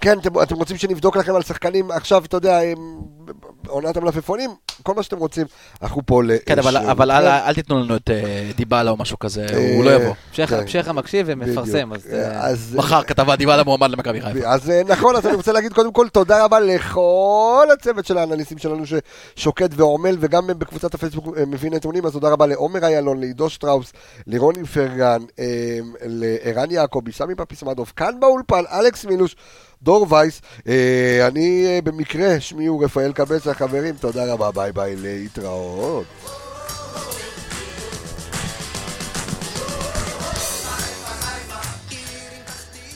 כן אתם, אתם רוצים שנבדוק לכם על שחקנים, עכשיו, אתה יודע, הם- עונת המלפפונים, כל מה שאתם רוצים, אנחנו פה ל... כן, אבל- ש- אבל אל- אל תיתנו לנו את אה, דיבאלה או משהו כזה, הוא לא יבוא. כן. פשחה מקשיב ומפרסם, אז... אה, אה, אז... מחר כתבה דיבאלה מועמד למכבי חיפה. אז אה, נכון, אז אני רוצה להגיד קודם כל תודה רבה לכל הצוות של האנליסטים שלנו ששוקד ועמל, וגם בקבוצת הפייסבוק אה, מביא נתונים, אז תודה רבה לעומר איילון, לעידו שטראוס, לרוני פרגן, אה, לערן יעקבי, סמי פפיסמדוב, כאן באולפן, אלכס מילוש, דור וייס. אה, אני אה, במקרה, שמי הוא רפאל קבסה, חברים, תודה רבה, ביי ביי, להתראות.